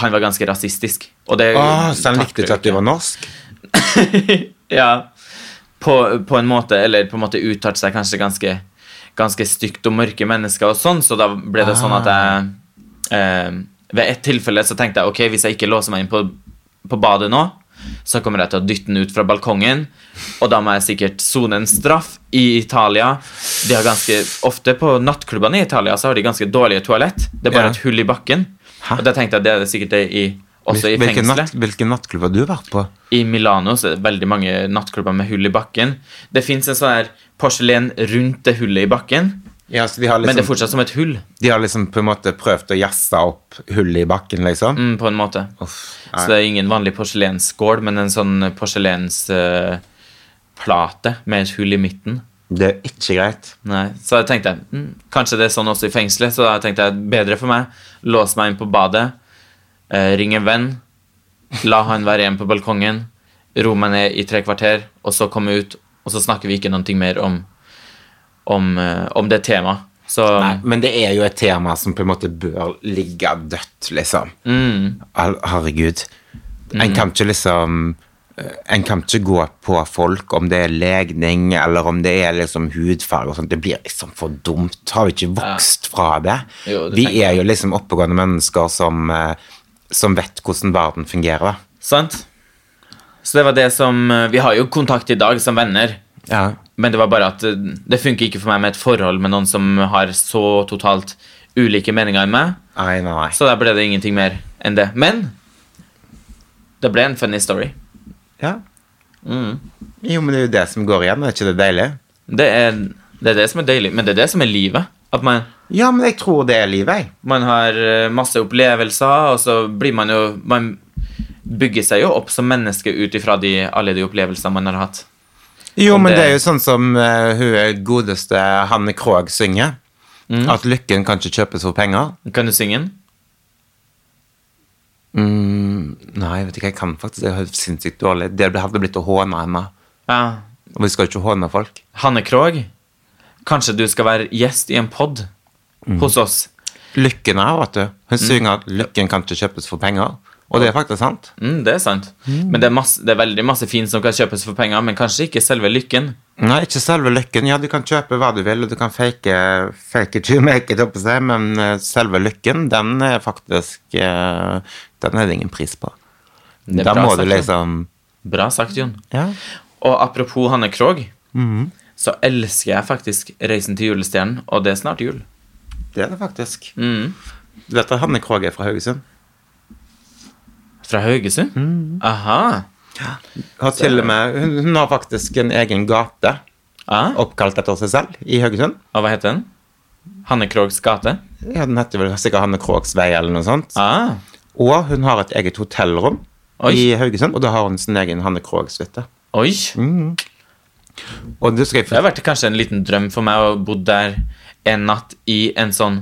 [SPEAKER 1] han var ganske rasistisk. Og det
[SPEAKER 2] Åh, så han Ah,
[SPEAKER 1] takler
[SPEAKER 2] likte ikke at du var norsk?
[SPEAKER 1] ja. På, på en måte, eller på en måte uttalte seg kanskje ganske, ganske stygt om mørke mennesker og sånn, så da ble det sånn at jeg eh, Ved et tilfelle så tenkte jeg ok, hvis jeg ikke låser meg inn på, på badet nå, så kommer jeg til å dytte den ut fra balkongen, og da må jeg sikkert sone en straff i Italia. De har ganske ofte På nattklubbene i Italia så har de ganske dårlige toalett. Det er bare
[SPEAKER 2] Ja.
[SPEAKER 1] et hull i bakken.
[SPEAKER 2] Hæ?
[SPEAKER 1] Og da tenkte jeg det er det sikkert det i, også i
[SPEAKER 2] Hvilken,
[SPEAKER 1] fengselet.
[SPEAKER 2] natt, hvilken nattklubb har du vært på?
[SPEAKER 1] I Milano så er det veldig mange nattklubber med hull i bakken. Det fins en sånn her porselen rundt det hullet i bakken,
[SPEAKER 2] Ja, så de, har
[SPEAKER 1] men det er
[SPEAKER 2] liksom,
[SPEAKER 1] fortsatt som et hull,
[SPEAKER 2] de har liksom på en måte prøvd å jazze opp hullet i bakken, liksom?
[SPEAKER 1] mm, på en måte.
[SPEAKER 2] Uff,
[SPEAKER 1] Så
[SPEAKER 2] nei.
[SPEAKER 1] det er ingen vanlig porselensskål, men en sånn porselensplate med et hull i midten.
[SPEAKER 2] det er ikke greit.
[SPEAKER 1] Nei, Så jeg tenkte mm, kanskje det er sånn også i fengselet, så da tenkte jeg bedre for meg. Lås meg inn på badet, eh, ring en venn, la han være igjen på balkongen, ro meg ned i tre kvarter, og så komme ut, og så snakker vi ikke noen ting mer om, om, eh, om det temaet. Så
[SPEAKER 2] Nei, men det er jo et tema som på en måte bør ligge dødt, liksom.
[SPEAKER 1] Mm.
[SPEAKER 2] Al- Herregud. En kan ikke liksom eh, En kan ikke gå på folk om det er legning eller om det er liksom hudfarge og sånt. Det blir liksom for dumt. Har vi ikke vokst fra det?
[SPEAKER 1] Jo, det
[SPEAKER 2] Vi
[SPEAKER 1] tenker
[SPEAKER 2] er jo liksom oppegående mennesker som, eh, som vet hvordan verden fungerer. da.
[SPEAKER 1] sant? Så det var det som eh, Vi har jo kontakt i dag som venner. Men det var bare at eh, det funker ikke for meg med et forhold med noen som har så totalt ulike meninger enn meg.
[SPEAKER 2] Nei, nei, nei.
[SPEAKER 1] Så der ble det ingenting mer enn det. Men det ble en funny story.
[SPEAKER 2] Ja.
[SPEAKER 1] Mm.
[SPEAKER 2] Jo, men det er jo det som går igjen. Er ikke det deilig?
[SPEAKER 1] Det er det, er det som er deilig, men det er det som er livet. At man,
[SPEAKER 2] Ja, men jeg tror det er livet, jeg.
[SPEAKER 1] man har eh, masse opplevelser, og så blir man jo Man bygger seg jo opp som menneske ut ifra de, alle de opplevelsene man har hatt.
[SPEAKER 2] Jo,
[SPEAKER 1] Om
[SPEAKER 2] men
[SPEAKER 1] det-
[SPEAKER 2] det er jo sånn som eh, hun godeste Hanne Krogh synger. At lykken kan ikke kjøpes for penger.
[SPEAKER 1] Kan du synge den?
[SPEAKER 2] Nei, jeg vet ikke, jeg kan faktisk det. er Sinnssykt dårlig. Det hadde blitt å håne henne.
[SPEAKER 1] Ja.
[SPEAKER 2] Og vi skal jo ikke håne folk.
[SPEAKER 1] Hanne Krogh, kanskje du skal være gjest i en pod
[SPEAKER 2] Mm.
[SPEAKER 1] hos oss.
[SPEAKER 2] Lykken er, vet du. Hun synger at lykken kan ikke kjøpes for penger. Og det er faktisk sant.
[SPEAKER 1] Mm, det er sant. Men det er, masse, det er veldig masse fint som kan kjøpes for penger, men kanskje ikke selve lykken.
[SPEAKER 2] Nei, ikke selve lykken. Ja, du kan kjøpe hva du vil, og du kan fake, fake it to make it, oppå seg, men eh, selve lykken, den er faktisk eh, Den er det ingen pris på.
[SPEAKER 1] Det er
[SPEAKER 2] Da
[SPEAKER 1] bra
[SPEAKER 2] må
[SPEAKER 1] sagt,
[SPEAKER 2] du
[SPEAKER 1] ja.
[SPEAKER 2] liksom
[SPEAKER 1] Bra sagt, Jon.
[SPEAKER 2] Ja.
[SPEAKER 1] Og apropos Hanne Krogh,
[SPEAKER 2] Mm.
[SPEAKER 1] så elsker jeg faktisk Reisen til julestjernen, og det er snart jul.
[SPEAKER 2] Det er det faktisk. Mm. Du vet at Hanne Krogh er fra Haugesund?
[SPEAKER 1] Fra Haugesund?
[SPEAKER 2] Mm.
[SPEAKER 1] Aha.
[SPEAKER 2] Har til og med, hun, hun har faktisk en egen gate
[SPEAKER 1] Ja, og,
[SPEAKER 2] oppkalt etter seg selv i Haugesund.
[SPEAKER 1] Ah. og hva heter den? Hanne Kroghs gate?
[SPEAKER 2] Ja, den heter vel sikkert Hanne Kroghs vei eller noe sånt.
[SPEAKER 1] Ah,
[SPEAKER 2] Og hun har et eget hotellrom
[SPEAKER 1] Oi.
[SPEAKER 2] i Haugesund, og da har hun sin egen Hanne Krogh-suite.
[SPEAKER 1] oi.
[SPEAKER 2] Mm. Og du skal jeg
[SPEAKER 1] Det har vært kanskje en liten drøm for meg å bo der en natt i en sånn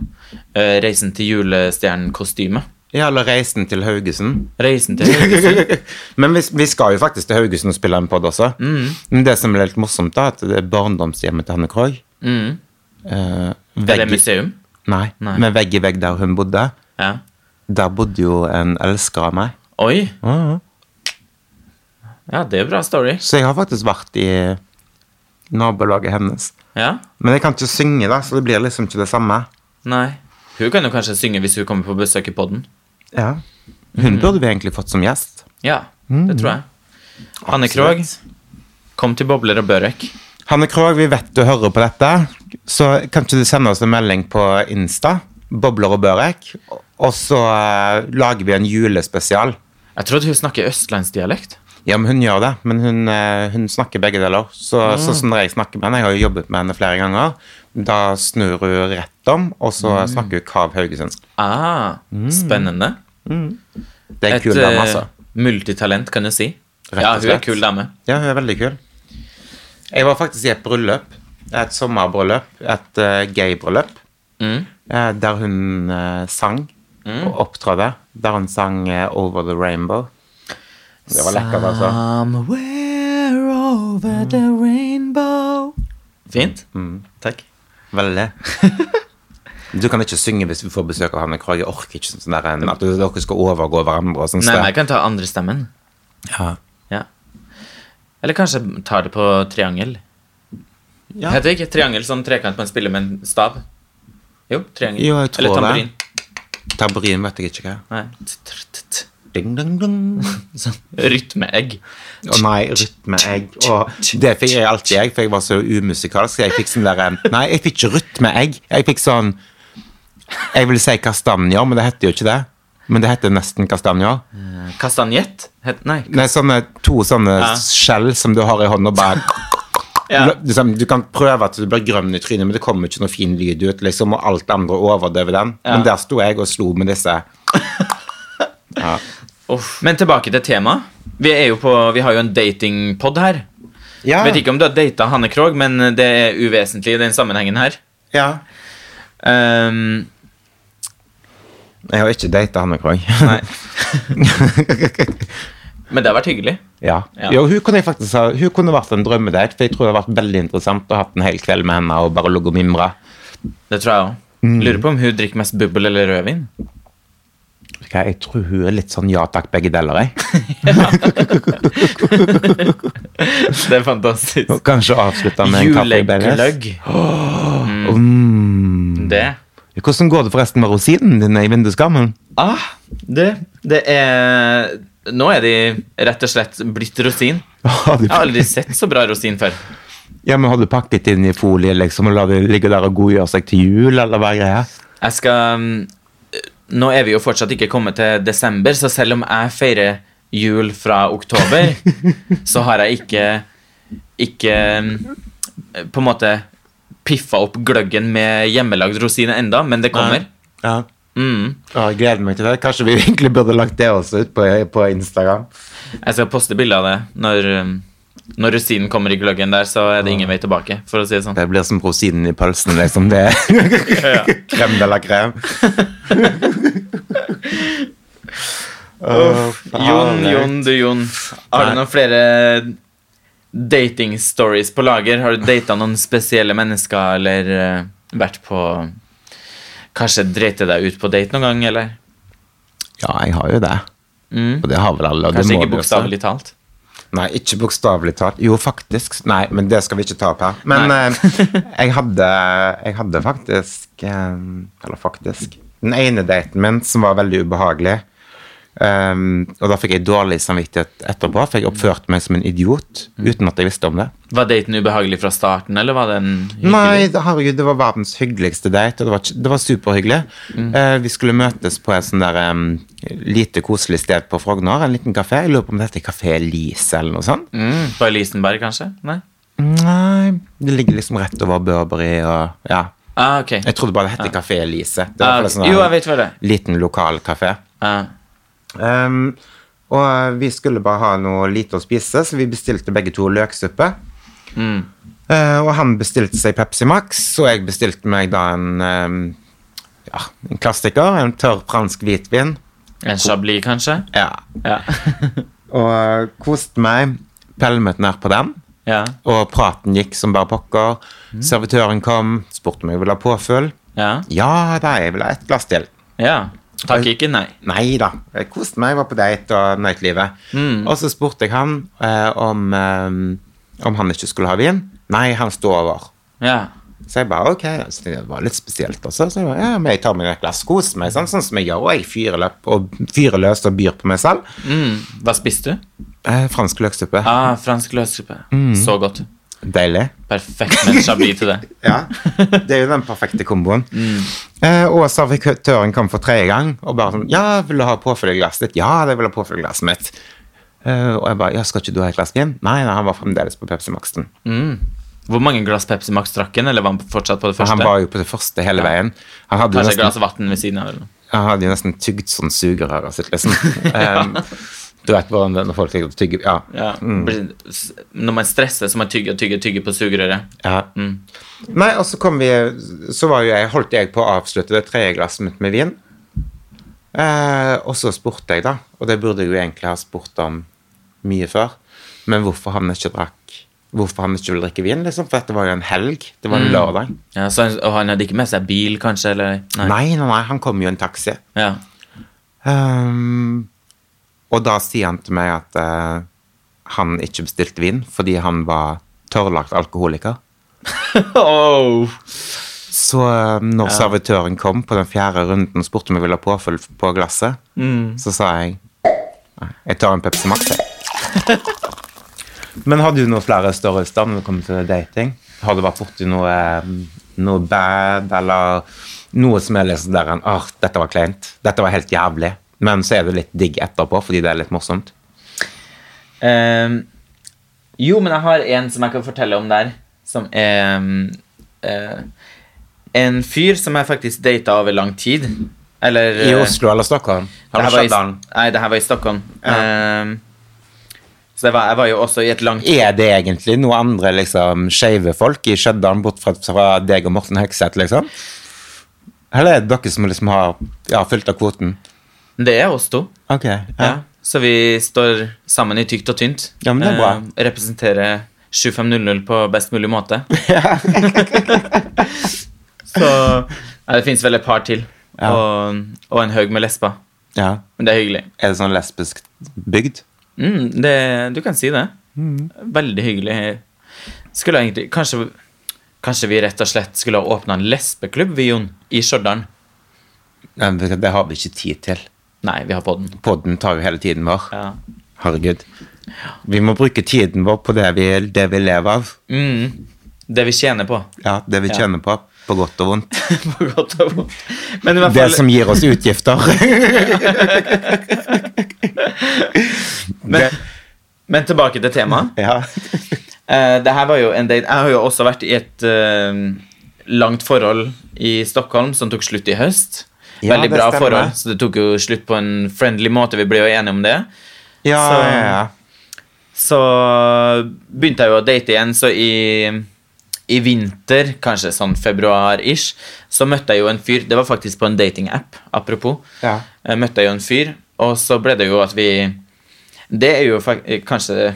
[SPEAKER 1] eh, Reisen til julestjernen-kostyme.
[SPEAKER 2] Ja, eller Reisen til Haugesund.
[SPEAKER 1] Reisen til Haugesund.
[SPEAKER 2] Men vi, vi skal jo faktisk til Haugesund og spille en pod også.
[SPEAKER 1] Mm.
[SPEAKER 2] Men det som er litt morsomt, da, er at det er barndomshjemmet til Hanne Krogh.
[SPEAKER 1] Mm.
[SPEAKER 2] eh,
[SPEAKER 1] Er det
[SPEAKER 2] vegg i-
[SPEAKER 1] museum?
[SPEAKER 2] Nei,
[SPEAKER 1] Nei.
[SPEAKER 2] men vegg i vegg der hun bodde.
[SPEAKER 1] Ja.
[SPEAKER 2] Der bodde jo en elsker av meg.
[SPEAKER 1] Oi!
[SPEAKER 2] Ja, ja.
[SPEAKER 1] Ja, det er bra story.
[SPEAKER 2] Så jeg har faktisk vært i nabolaget hennes.
[SPEAKER 1] Ja.
[SPEAKER 2] Men jeg kan ikke synge, da, så det blir liksom ikke det samme.
[SPEAKER 1] Nei. Hun kan jo kanskje synge hvis hun kommer på besøk i podden.
[SPEAKER 2] Ja. Hun burde vi egentlig fått som gjest.
[SPEAKER 1] Ja, det tror jeg.
[SPEAKER 2] Mm.
[SPEAKER 1] Hanne Krogh, kom til Bobler og Børek.
[SPEAKER 2] Hanne Krogh, vi vet du hører på dette, så kan ikke du sende oss en melding på Insta? Bobler og børek. Og så eh, lager vi en julespesial.
[SPEAKER 1] Jeg trodde hun snakker østlandsdialekt.
[SPEAKER 2] Ja, men hun gjør det, men hun, eh, hun snakker begge deler. Så, Sånn som når jeg snakker med henne, jeg har jo jobbet med henne flere ganger, da snur hun rett om, og så snakker hun Kav Haugesundsk.
[SPEAKER 1] Ah, spennende.
[SPEAKER 2] Det er Mm. en kul dame,
[SPEAKER 1] eh,
[SPEAKER 2] altså.
[SPEAKER 1] multitalent, kan du si.
[SPEAKER 2] Rett og
[SPEAKER 1] Ja, hun er
[SPEAKER 2] slett.
[SPEAKER 1] kul dame.
[SPEAKER 2] Ja, hun er veldig kul. Jeg var faktisk i et bryllup. Et sommerbryllup. Et eh, gay-bryllup.
[SPEAKER 1] Mm.
[SPEAKER 2] eh, der hun eh, sang og opptrådte. Der hun sang eh, 'Over the Rainbow'. Det var lekkert, altså. Mm.
[SPEAKER 1] Somewhere over the rainbow. Fint. Takk.
[SPEAKER 2] Veldig. Du kan ikke synge hvis vi får besøk av Hanne Krogh. Jeg orker ikke sånn der, en- at dere skal overgå hverandre. og sånn sånt.
[SPEAKER 1] Nei, men jeg kan ta andre stemmen.
[SPEAKER 2] Ja.
[SPEAKER 1] Ja. Eller kanskje ta det på triangel.
[SPEAKER 2] Ja.
[SPEAKER 1] Heter det ikke triangel sånn trekant man spiller med en stav? Jo, triangel.
[SPEAKER 2] Jo, jeg tror
[SPEAKER 1] Eller
[SPEAKER 2] det.
[SPEAKER 1] tamburin.
[SPEAKER 2] Tamburin vet jeg ikke hva er.
[SPEAKER 1] Nei. T- tr- t- t-
[SPEAKER 2] Ding, ding, ding.
[SPEAKER 1] Sånn. Rytmeegg.
[SPEAKER 2] Å nei, rytmeegg. Og det fikk jeg alltid, jeg, for jeg var så umusikalsk. Jeg fikk sånn der en- Nei, jeg fikk ikke rytmeegg. Jeg fikk sånn Jeg vil si kastanjer, men det heter jo ikke det. Men det heter nesten kastanjer.
[SPEAKER 1] Kastanjett? Het- Nei.
[SPEAKER 2] Nei, sånne to sånne
[SPEAKER 1] Ja.
[SPEAKER 2] skjell som du har i hånda, bare
[SPEAKER 1] Ja.
[SPEAKER 2] liksom, Du kan prøve at du blir grønn i trynet, men det kommer ikke noe fin lyd ut, liksom, og alt andre overdøver den.
[SPEAKER 1] Ja.
[SPEAKER 2] Men der sto jeg og slo med disse.
[SPEAKER 1] Uff. Men tilbake til temaet. Vi, er jo på, vi har jo en datingpod her.
[SPEAKER 2] Ja.
[SPEAKER 1] Vet ikke om du har data Hanne Krogh, men det er uvesentlig i den sammenhengen her.
[SPEAKER 2] ja.
[SPEAKER 1] Ehm,
[SPEAKER 2] Jeg har ikke data Hanne Krogh.
[SPEAKER 1] nei. men det har vært hyggelig.
[SPEAKER 2] Ja.
[SPEAKER 1] Ja.
[SPEAKER 2] Jo, hun kunne jeg faktisk ha, hun kunne vært en drømmedate, for jeg tror det hadde vært veldig interessant å ha hatt en hel kveld med henne og bare ligget og mimre.
[SPEAKER 1] Det tror jeg òg.
[SPEAKER 2] Mm.
[SPEAKER 1] Lurer på om hun drikker mest bubbel eller rødvin.
[SPEAKER 2] Vet du hva, Jeg tror hun er litt sånn ja takk, begge deler, jeg.
[SPEAKER 1] Det er fantastisk.
[SPEAKER 2] Og kanskje avslutte med en kaffe i Baileys.
[SPEAKER 1] Julegløgg.
[SPEAKER 2] Mm.
[SPEAKER 1] Det.
[SPEAKER 2] Hvordan går det forresten med rosinen din i vinduskarmen?
[SPEAKER 1] Ah, det. Det er Nå er de rett og slett blitt rosin.
[SPEAKER 2] Har du,
[SPEAKER 1] Jeg har aldri sett så bra rosin før.
[SPEAKER 2] ja, men har du pakket inn i folie liksom, og lar det ligge der og godgjøre seg til jul, eller hva er greia?
[SPEAKER 1] Jeg skal mm, Nå er vi jo fortsatt ikke kommet til desember, så selv om jeg feirer jul fra oktober, så har jeg ikke Ikke mm, på en måte piffa opp gløggen med hjemmelagd rosin enda, men det kommer.
[SPEAKER 2] Ja.
[SPEAKER 1] Mm.
[SPEAKER 2] Ja, jeg gleder meg til det. Kanskje vi egentlig burde lagt det også ut på, på Instagram.
[SPEAKER 1] Jeg skal poste bilde av det når, um, når rosinen kommer i gløggen der, så er det ingen vei tilbake, for å si det sånn.
[SPEAKER 2] Det blir som rosinen i pølsen, liksom. Det er krem de la krem.
[SPEAKER 1] Jon,
[SPEAKER 2] eh.
[SPEAKER 1] Jon, du Jon. Har du noen flere dating stories på lager? Har du data noen spesielle mennesker, eller eh, vært på Kanskje dreit deg ut på date noen gang, eller?
[SPEAKER 2] Ja, jeg har jo det.
[SPEAKER 1] Mm.
[SPEAKER 2] Og det har vel alle. og det
[SPEAKER 1] Kanskje
[SPEAKER 2] må
[SPEAKER 1] ikke
[SPEAKER 2] vi også.
[SPEAKER 1] bokstavelig talt.
[SPEAKER 2] Nei, ikke bokstavelig talt. Jo, faktisk. Nei, men det skal vi ikke ta opp her. Men
[SPEAKER 1] Nei.
[SPEAKER 2] eh, jeg, hadde, jeg hadde faktisk eh, Eller faktisk Den ene daten min som var veldig ubehagelig. ehm, og da fikk jeg dårlig samvittighet etterpå, for jeg oppførte meg som en idiot uten at jeg visste om det.
[SPEAKER 1] Var daten ubehagelig fra starten, eller var den hyggelig?
[SPEAKER 2] Nei, det- herregud, det var verdens hyggeligste date, og det var, ikke- det var superhyggelig.
[SPEAKER 1] Mm.
[SPEAKER 2] Eh, vi skulle møtes på et sånn der em, lite koselig sted på Frogner, en liten kafé. Jeg lurer på om det heter Kafé Elise eller noe sånt.
[SPEAKER 1] Mm. På Elisenberg, kanskje? Nei?
[SPEAKER 2] Nei, det ligger liksom rett over Burberry og Ja.
[SPEAKER 1] Ah, ok.
[SPEAKER 2] Jeg trodde bare det hette Kafé Elise. Det
[SPEAKER 1] Ah, ok.
[SPEAKER 2] var i hvert fall en sånn der
[SPEAKER 1] Jo, jeg vet hva det er.
[SPEAKER 2] liten lokal kafé.
[SPEAKER 1] Ah.
[SPEAKER 2] Ehm, og vi skulle bare ha noe lite å spise, så vi bestilte begge to løksuppe. Mm. Eh, og han bestilte seg Pepsi Max, og jeg bestilte meg da en ehm, ja, en klassiker. En tørr fransk hvitvin.
[SPEAKER 1] En chablis, kanskje?
[SPEAKER 2] Ja.
[SPEAKER 1] Ja.
[SPEAKER 2] Og eh, koste meg. Pælmet ned på den.
[SPEAKER 1] ja.
[SPEAKER 2] Og praten gikk som bare pokker. Servitøren kom, spurte om jeg ville ha påfyll.
[SPEAKER 1] ja.
[SPEAKER 2] Ja da, jeg vil ha et glass til.
[SPEAKER 1] ja. Takk, ikke nei.
[SPEAKER 2] Nei da. Jeg koste meg, var på date og nøt livet. Og så spurte jeg han eh, om, eh, om han ikke skulle ha vin. Nei, han sto over.
[SPEAKER 1] Ja.
[SPEAKER 2] Så jeg bare ok, så tenkte jeg, det var litt spesielt også. Så jeg bare, ja, men jeg tar meg et glass, koser meg, sånn, sånn som jeg gjør. Og jeg fyrer løp- og fyrer løs og byr på meg selv.
[SPEAKER 1] Mm. Hva spiste du?
[SPEAKER 2] Eh, fransk løksuppe.
[SPEAKER 1] Ah, fransk løssuppe.
[SPEAKER 2] Mm.
[SPEAKER 1] Så godt.
[SPEAKER 2] Deilig.
[SPEAKER 1] Perfekt med en chablis til det.
[SPEAKER 2] Ja, det er jo den perfekte komboen.
[SPEAKER 1] Mm.
[SPEAKER 2] Eh, og servitøren kom for tredje gang og bare sånn Ja, vil du ha påfyll i glasset ditt? Ja, det vil jeg ha påfyll i glasset mitt. Eh, og jeg bare Ja, skal ikke du ha et glass vin? Nei, nei, han var fremdeles på Pepsi Max-en.
[SPEAKER 1] Hvor mange glass Pepsi Max drakk han, eller var han fortsatt på det første?
[SPEAKER 2] Han var jo på det første hele veien. Han hadde, jo
[SPEAKER 1] Kanskje et glass
[SPEAKER 2] nesten,
[SPEAKER 1] vann ved siden av? eller noe.
[SPEAKER 2] han hadde jo nesten tygd sånn sugerøret sitt, liksom. Eh, du vet hvordan det er når folk liker å tygge Ja.
[SPEAKER 1] Ja.
[SPEAKER 2] Mm.
[SPEAKER 1] Blir- s- Når man stresser, så man tygger og tygger, tygger på sugerøret.
[SPEAKER 2] ja. Mm. Nei, og så kom vi Så var jo jeg, holdt jeg på å avslutte det tredje glasset mitt med vin. Eh, og så spurte jeg, da, og det burde jeg jo egentlig ha spurt om mye før, men hvorfor han ikke drakk Hvorfor han ikke ville drikke vin, liksom? For dette var jo en helg. Det var en lørdag.
[SPEAKER 1] Ja, så han, og han hadde ikke med seg bil, kanskje? Eller?
[SPEAKER 2] Nei, nei, nei, han kom jo i en taxi.
[SPEAKER 1] Ja.
[SPEAKER 2] Ehm, og da sier han til meg at eh, han ikke bestilte vin fordi han var tørrlagt alkoholiker.
[SPEAKER 1] Oh.
[SPEAKER 2] Så eh, når servitøren kom på den fjerde runden og spurte om jeg ville ha påfyll på glasset, så sa jeg «Nei, jeg tar en Pepsi Max. jeg». Men har du noen flere størrelser når det kommer til dating? Har du vært borti noe, eh, noe bad, eller noe som er liksom der en Åh, dette var kleint. Dette var helt jævlig. Men så er det litt digg etterpå fordi det er litt morsomt.
[SPEAKER 1] Ehm, jo, men jeg har en som jeg kan fortelle om der. Som er eh, En fyr som jeg faktisk data over lang tid. Eller
[SPEAKER 2] I
[SPEAKER 1] eh,
[SPEAKER 2] Oslo eller Stockholm?
[SPEAKER 1] det
[SPEAKER 2] Har du
[SPEAKER 1] her var i-
[SPEAKER 2] Stjørdal?
[SPEAKER 1] Nei, det her var i Stockholm. Ehm, så det var, jeg var jo også i et langt
[SPEAKER 2] Er det egentlig noe andre liksom, skeive folk i Stjørdal, bort fra, fra deg og Morten Hekseth, liksom? Eller er det dere som liksom har ja, fylt av kvoten?
[SPEAKER 1] Det er oss to.
[SPEAKER 2] Ok, ja.
[SPEAKER 1] Ja. Så vi står sammen i tykt og tynt.
[SPEAKER 2] Ja, men det er bra.
[SPEAKER 1] Eh, representerer 7500 på best mulig måte. Så ja, det fins vel et par til.
[SPEAKER 2] Ja.
[SPEAKER 1] Og, og en haug med lesber.
[SPEAKER 2] Ja.
[SPEAKER 1] Men det er hyggelig.
[SPEAKER 2] Er det sånn lesbisk bygd?
[SPEAKER 1] Mm, det, du kan si det.
[SPEAKER 2] Mm.
[SPEAKER 1] Veldig hyggelig. Skulle egentlig kanskje, kanskje vi rett og slett skulle ha åpna en lesbeklubb, vi, Jon, i Stjørdal?
[SPEAKER 2] Nei, vet du hva, Det har vi ikke tid til.
[SPEAKER 1] Nei, vi har podden.
[SPEAKER 2] Podden tar jo hele tiden vår.
[SPEAKER 1] Ja.
[SPEAKER 2] Herregud. Vi må bruke tiden vår på det vi, det vi lever av.
[SPEAKER 1] Mm, det vi tjener på.
[SPEAKER 2] Ja, det vi
[SPEAKER 1] Ja.
[SPEAKER 2] kjenner på. På godt og vondt.
[SPEAKER 1] på godt og vondt. Men i hvert
[SPEAKER 2] Det
[SPEAKER 1] fall
[SPEAKER 2] som gir oss utgifter.
[SPEAKER 1] Men, men tilbake til temaet.
[SPEAKER 2] ja.
[SPEAKER 1] Eh, det her var jo en date Jeg har jo også vært i et eh, langt forhold i Stockholm som tok slutt i høst.
[SPEAKER 2] Ja,
[SPEAKER 1] Veldig
[SPEAKER 2] det
[SPEAKER 1] bra
[SPEAKER 2] stemmer.
[SPEAKER 1] forhold, så det tok jo slutt på en friendly måte. Vi ble jo enige om det.
[SPEAKER 2] Ja,
[SPEAKER 1] Så-
[SPEAKER 2] ja, ja.
[SPEAKER 1] Så begynte jeg jo å date igjen, så i, i vinter, kanskje sånn februar-ish, så møtte jeg jo en fyr Det var faktisk på en datingapp, apropos.
[SPEAKER 2] Ja.
[SPEAKER 1] Jeg møtte jo en fyr, og så ble det jo at vi Det er jo fak- kanskje eh,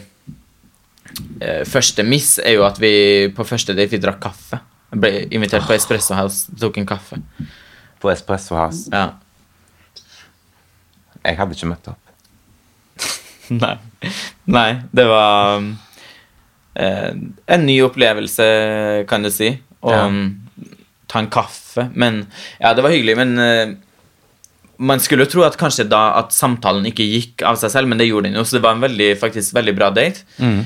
[SPEAKER 1] Første miss er jo at vi på første date vi drakk kaffe. Jeg ble invitert på Espresso House, tok en kaffe.
[SPEAKER 2] På Espresso House.
[SPEAKER 1] Ja.
[SPEAKER 2] Jeg hadde ikke møtt opp.
[SPEAKER 1] Nei. Nei, det var um, eh, en ny opplevelse, kan du si. Og
[SPEAKER 2] Ja.
[SPEAKER 1] um, ta en kaffe. Men Ja, det var hyggelig, men eh, man skulle jo tro at kanskje da at samtalen ikke gikk av seg selv, men det gjorde den jo, så det var en veldig, faktisk veldig bra date.
[SPEAKER 2] Mm.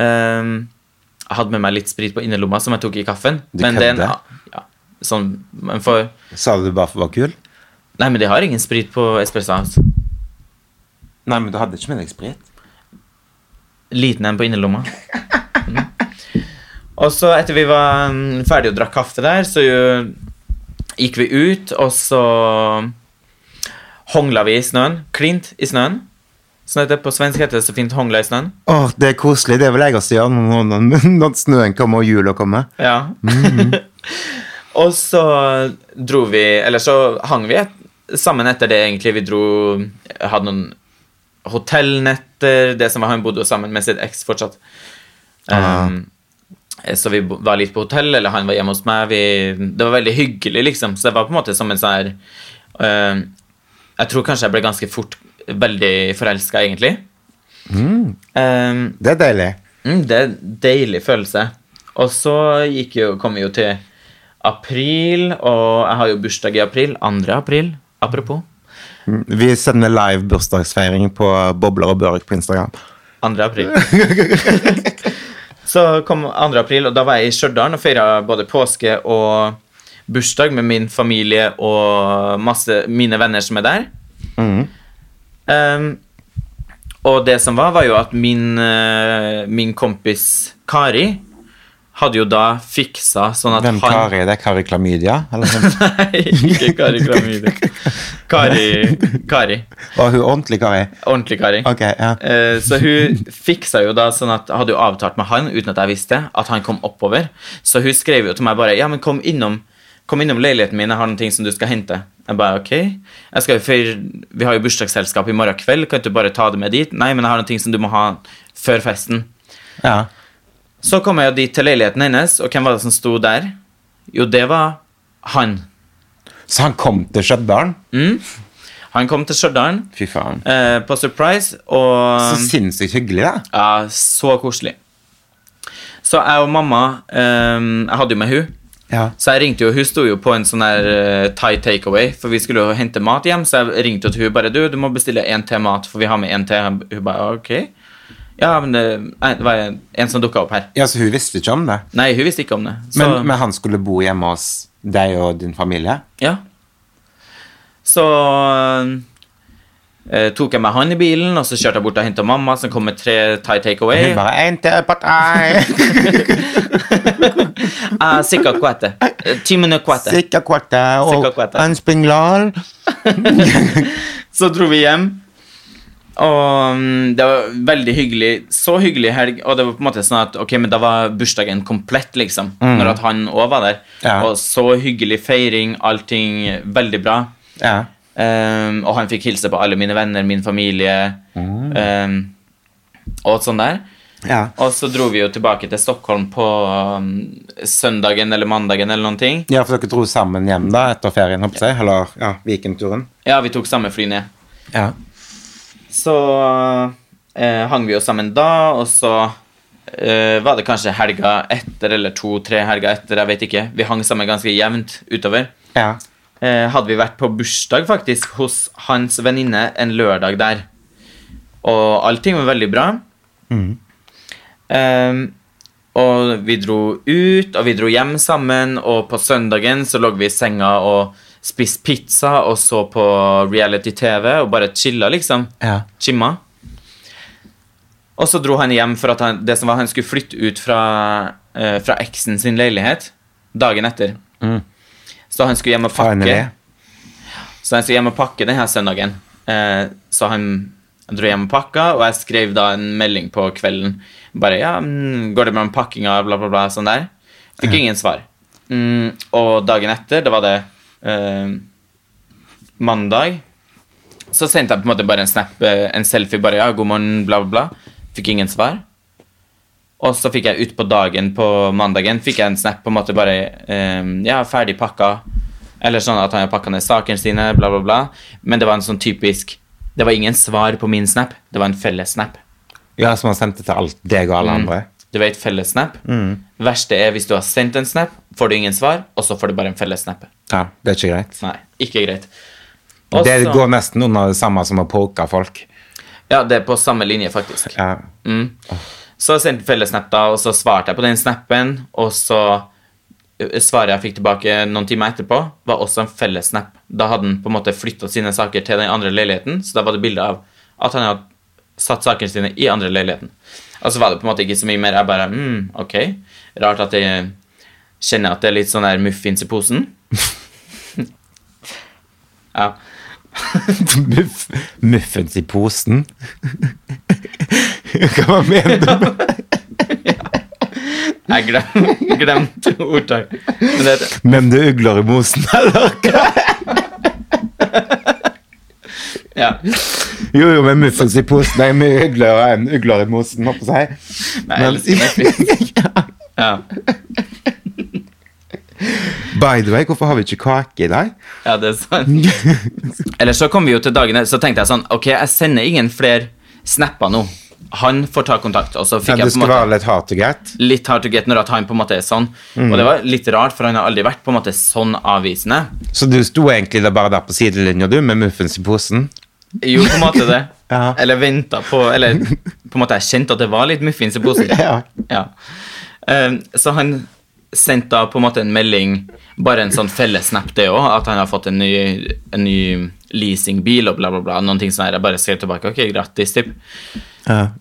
[SPEAKER 1] Um, jeg hadde med meg litt sprit på innerlomma som jeg tok i kaffen.
[SPEAKER 2] Du
[SPEAKER 1] men det er en,
[SPEAKER 2] kødder?
[SPEAKER 1] ja, sånn, man får,
[SPEAKER 2] Sa du det bare for å være kul?
[SPEAKER 1] Nei, men de har ingen sprit på Espresso House.
[SPEAKER 2] Nei, men du hadde ikke med deg sprit.
[SPEAKER 1] Liten en på innerlomma. Mm. Og så etter vi var mm, ferdig og drakk kaffe der, så jo, gikk vi ut, og så hongla vi i snøen. Klint i snøen. Sånn heter det på svensk heter det så fint 'hongla i snøen'.
[SPEAKER 2] Åh, Det er koselig. Det er vel jeg også gjør når, når, når snøen kommer og jula kommer.
[SPEAKER 1] Ja. Og så dro vi Eller så hang vi et, sammen etter det, egentlig. Vi dro Hadde noen hotellnetter. Det som var Han bodde jo sammen med sitt eks fortsatt. Um, så vi bo- var litt på hotell, eller han var hjemme hos meg. Vi, det var veldig hyggelig, liksom. Så det var på en måte som en sånn her um, Jeg tror kanskje jeg ble ganske fort veldig forelska, egentlig. Um,
[SPEAKER 2] Det er deilig.
[SPEAKER 1] Mm, det er en deilig følelse. Og så gikk jo, kom vi jo til april, og jeg har jo bursdag i april. 2. april, apropos.
[SPEAKER 2] Vi sender live bursdagsfeiring på Bobler og Børek på Instagram.
[SPEAKER 1] 2. april. så kom 2. april, og da var jeg i Stjørdal og feira både påske og bursdag med min familie og masse mine venner som er der.
[SPEAKER 2] Mm.
[SPEAKER 1] Um, og det som var, var jo at min, eh, min kompis Kari hadde jo da fiksa sånn at
[SPEAKER 2] Hvem
[SPEAKER 1] han
[SPEAKER 2] Kari? Det er Kari Klamydia? Eller sånn.
[SPEAKER 1] Nei, ikke Kari Klamydia. Kari, Kari.
[SPEAKER 2] Og hun ordentlig Kari?
[SPEAKER 1] Ordentlig Kari.
[SPEAKER 2] Ok, ja.
[SPEAKER 1] Eh, Så hun fiksa jo da sånn at hadde jo avtalt med han uten at jeg visste at han kom oppover. Så hun skrev jo til meg bare Ja, men kom innom, kom innom leiligheten min, jeg har noen ting som du skal hente. Jeg bare ok. Jeg skal jo feire Vi har jo bursdagsselskap i morgen kveld, kan ikke du bare ta det med dit? Nei, men jeg har noen ting som du må ha før festen.
[SPEAKER 2] ja.
[SPEAKER 1] Så kom jeg jo dit til leiligheten hennes, og hvem var det som sto der? Jo, det var han.
[SPEAKER 2] Så han kom til Stjørdal?
[SPEAKER 1] Han kom til Stjørdal.
[SPEAKER 2] Fy faen.
[SPEAKER 1] eh, på Surprise, og
[SPEAKER 2] Så sinnssykt hyggelig, da.
[SPEAKER 1] ja, så koselig. Så jeg og mamma eh, Jeg hadde jo med hun
[SPEAKER 2] Ja.
[SPEAKER 1] så jeg ringte jo, Hun sto jo på en sånn her eh, Thai takeaway, for vi skulle jo hente mat hjem. Så jeg ringte jo til hun bare du, du må bestille én til mat, for vi har med én til. Hun bare ok. Ja, men det, nei, det var en som dukka opp her.
[SPEAKER 2] ja, så hun visste ikke om det.
[SPEAKER 1] Nei, hun visste ikke om det. Så,
[SPEAKER 2] Men, men han skulle bo hjemme hos deg og din familie?
[SPEAKER 1] Ja. Så eh, tok jeg med han i bilen, og så kjørte jeg bort og henta mamma, som kom med tre Thai takeaway.
[SPEAKER 2] Hun bare «En til partei,
[SPEAKER 1] Ah, sikkert kvete. Eh, Ti minutter kvete.
[SPEAKER 2] sikker kvarte
[SPEAKER 1] Sikker
[SPEAKER 2] og
[SPEAKER 1] kvarte.
[SPEAKER 2] en spinglal.
[SPEAKER 1] Så dro vi hjem, og mm, det var veldig hyggelig. Så hyggelig helg, og det var på en måte sånn at ok, men da var bursdagen komplett, liksom. Når at han òg var der.
[SPEAKER 2] Ja.
[SPEAKER 1] Og så hyggelig feiring, allting veldig bra.
[SPEAKER 2] Ja.
[SPEAKER 1] Ehm, og han fikk hilse på alle mine venner, min familie, ehm, og sånn der.
[SPEAKER 2] ja.
[SPEAKER 1] Og så dro vi jo tilbake til Stockholm på um, søndagen eller mandagen eller noen ting.
[SPEAKER 2] Ja, for dere dro sammen hjem da etter ferien, håper jeg. Eller ja, Vikenturen.
[SPEAKER 1] Ja, vi tok samme fly ned.
[SPEAKER 2] Ja.
[SPEAKER 1] Så eh, hang vi jo sammen da, og så eh, var det kanskje helga etter, eller to-tre helger etter, jeg vet ikke. Vi hang sammen ganske jevnt utover.
[SPEAKER 2] Ja.
[SPEAKER 1] Eh, hadde vi vært på bursdag faktisk hos hans venninne en lørdag der. Og allting var veldig bra. Ehm, og vi dro ut, og vi dro hjem sammen, og på søndagen så lå vi i senga og spiste pizza og så på reality-TV og bare chilla, liksom.
[SPEAKER 2] Ja.
[SPEAKER 1] Chimma. Og så dro han hjem for at han, det som var han skulle flytte ut fra, eh, fra eksen sin leilighet dagen etter. Så han skulle hjem og pakke.
[SPEAKER 2] Finally.
[SPEAKER 1] Så jeg skulle hjem og pakke denne søndagen. Eh, så han dro hjem og pakka, og jeg skrev da en melding på kvelden. Bare ja, mm, 'Går det med om pakkinga?' bla, bla, bla. Sånn der. Fikk ingen svar. Mm, og dagen etter, da var det eh, mandag, så sendte jeg på en måte bare en snap, eh, en selfie, bare ja, 'God morgen', bla, bla, bla. Fikk ingen svar. Og så fikk jeg utpå dagen på mandagen fikk jeg en snap på en måte bare ehm, Ja, ferdig pakka. Eller sånn at han har pakka ned sakene sine, bla, bla, bla. Men det var en sånn typisk Det var ingen svar på min snap. Det var en fellessnap.
[SPEAKER 2] ja, som han sendte til alt deg og alle andre.
[SPEAKER 1] Du vet fellessnap?
[SPEAKER 2] Mm.
[SPEAKER 1] Det verste er hvis du har sendt en snap, får du ingen svar, og så får du bare en fellessnap.
[SPEAKER 2] Ja, Det er ikke greit.
[SPEAKER 1] Nei, ikke greit.
[SPEAKER 2] Det
[SPEAKER 1] Også-
[SPEAKER 2] går nesten under det samme som å poke folk.
[SPEAKER 1] Ja, det er på samme linje, faktisk.
[SPEAKER 2] Ja.
[SPEAKER 1] Mm. Så sendte jeg fellesnap da, og så svarte jeg på den snappen, og så eh, svaret jeg fikk tilbake noen timer etterpå, var også en fellesnap. Da hadde han på en måte flyttet sine saker til den andre leiligheten, så da var det bilde av at han hadde satt sakene sine i andre leiligheten. Og så var det på en måte ikke så mye mer, jeg bare, mm, ok. Rart at jeg kjenner at det er litt sånn der muffins i posen. ja.
[SPEAKER 2] Muff, muffens i posen. Hva mener du?
[SPEAKER 1] Jeg glem, glemte ordtak. Men det, heter-
[SPEAKER 2] Men det er ugler i mosen, eller?
[SPEAKER 1] ja.
[SPEAKER 2] Jo, jo, med muffins i posen. Nei, med ugler og en ugler i mosen, holdt på å si.
[SPEAKER 1] Nei, jeg elsker meg fisk. Ja.
[SPEAKER 2] By the way, hvorfor har vi ikke kake i dag?
[SPEAKER 1] ja, det er sant. Eller så kom vi jo til dagene, så tenkte jeg sånn Ok, jeg sender ingen flere snapper nå. Han får ta kontakt. Og så
[SPEAKER 2] Ja,
[SPEAKER 1] fikk
[SPEAKER 2] det
[SPEAKER 1] jeg på en
[SPEAKER 2] skal
[SPEAKER 1] måte
[SPEAKER 2] være litt hard to get.
[SPEAKER 1] litt hard to get når at han på en måte er sånn.
[SPEAKER 2] Mm.
[SPEAKER 1] Og det var litt rart, for han har aldri vært på en måte sånn avvisende.
[SPEAKER 2] Så du sto egentlig da bare der på sidelinja, du, med muffins i posen?
[SPEAKER 1] Jo, på en måte det.
[SPEAKER 2] Ja.
[SPEAKER 1] Eller venta på Eller på en måte jeg kjente at det var litt muffins i posen.
[SPEAKER 2] Ja.
[SPEAKER 1] Ja. Ehm, så han sendte da på en måte en melding, bare en sånn fellesnap det òg, at han har fått en ny, en ny leasingbil og bla, bla, bla. Noen ting sånn her. Jeg bare skrev tilbake ok, grattis, typ.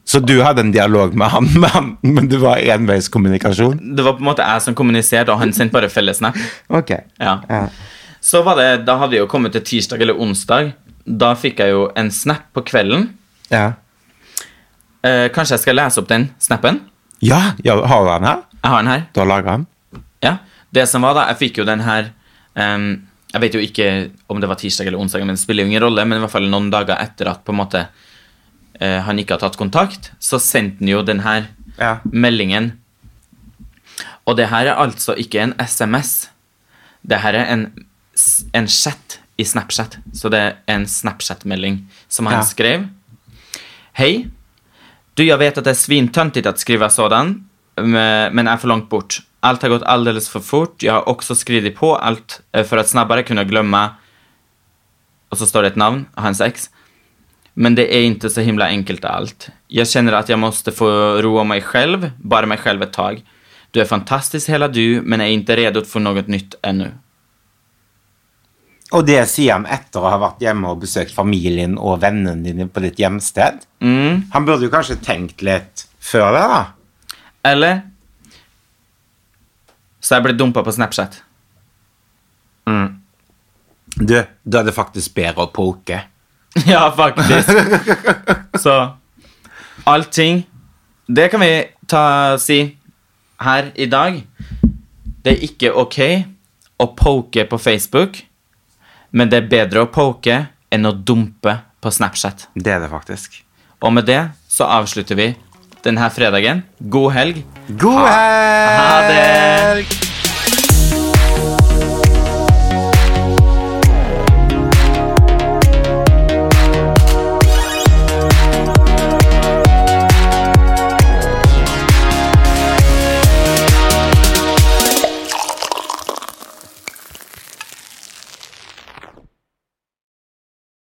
[SPEAKER 2] Så du hadde en dialog med han, men, han, men det var enveiskommunikasjon?
[SPEAKER 1] Det var på en måte jeg som kommuniserte, og han sendte bare fellesnap.
[SPEAKER 2] Ok.
[SPEAKER 1] Ja.
[SPEAKER 2] Ja.
[SPEAKER 1] Så var det, da hadde vi jo kommet til tirsdag eller onsdag. Da fikk jeg jo en snap på kvelden.
[SPEAKER 2] Ja,
[SPEAKER 1] Eh, kanskje jeg skal lese opp den snappen?
[SPEAKER 2] ja, ja har du han her?
[SPEAKER 1] Jeg har den her.
[SPEAKER 2] Du har laget han?
[SPEAKER 1] Ja, det som var da, jeg fikk jo den her ehm, Jeg vet jo ikke om det var tirsdag eller onsdag, men det spiller jo ingen rolle, men i hvert fall noen dager etter at på en måte eh, han ikke har tatt kontakt, så sendte han jo den her
[SPEAKER 2] Ja.
[SPEAKER 1] meldingen. Og det her er altså ikke en SMS. Det her er en, s- en chat i Snapchat. Så det er en Snapchat-melding som han
[SPEAKER 2] Ja.
[SPEAKER 1] skrev. Hei. Du, jeg vet at det er svintöntigt att skriva sådan, men men är för långt bort. Allt har gått alldeles för fort. Jag har också skrivit på allt eh, för att snabbare kunna glömma. Och så står det ett namn, hans ex. Men det är inte så himla enkelt allt. Jag känner att jag måste få roa mig själv, bara mig själv ett tag. Du är fantastisk hela du, men är inte redo för något nytt ännu.
[SPEAKER 2] Og det sier han etter å ha vært hjemme og besøkt familien og vennene dine på ditt hjemsted.
[SPEAKER 1] Mm.
[SPEAKER 2] Han burde jo kanskje tenkt litt før det, da.
[SPEAKER 1] Eller? Så jag blev dumpad på Snapchat.
[SPEAKER 2] Du, da er det faktisk bedre å poke.
[SPEAKER 1] Ja, faktisk. Så allting Det kan vi ta, si her i dag. Det er ikke ok å poke på Facebook, men det er bedre å poke enn å dumpe på Snapchat.
[SPEAKER 2] Det er det faktisk.
[SPEAKER 1] Og med det så avslutter vi denne fredagen. God helg.
[SPEAKER 2] Ah, God helg!
[SPEAKER 1] Ha det!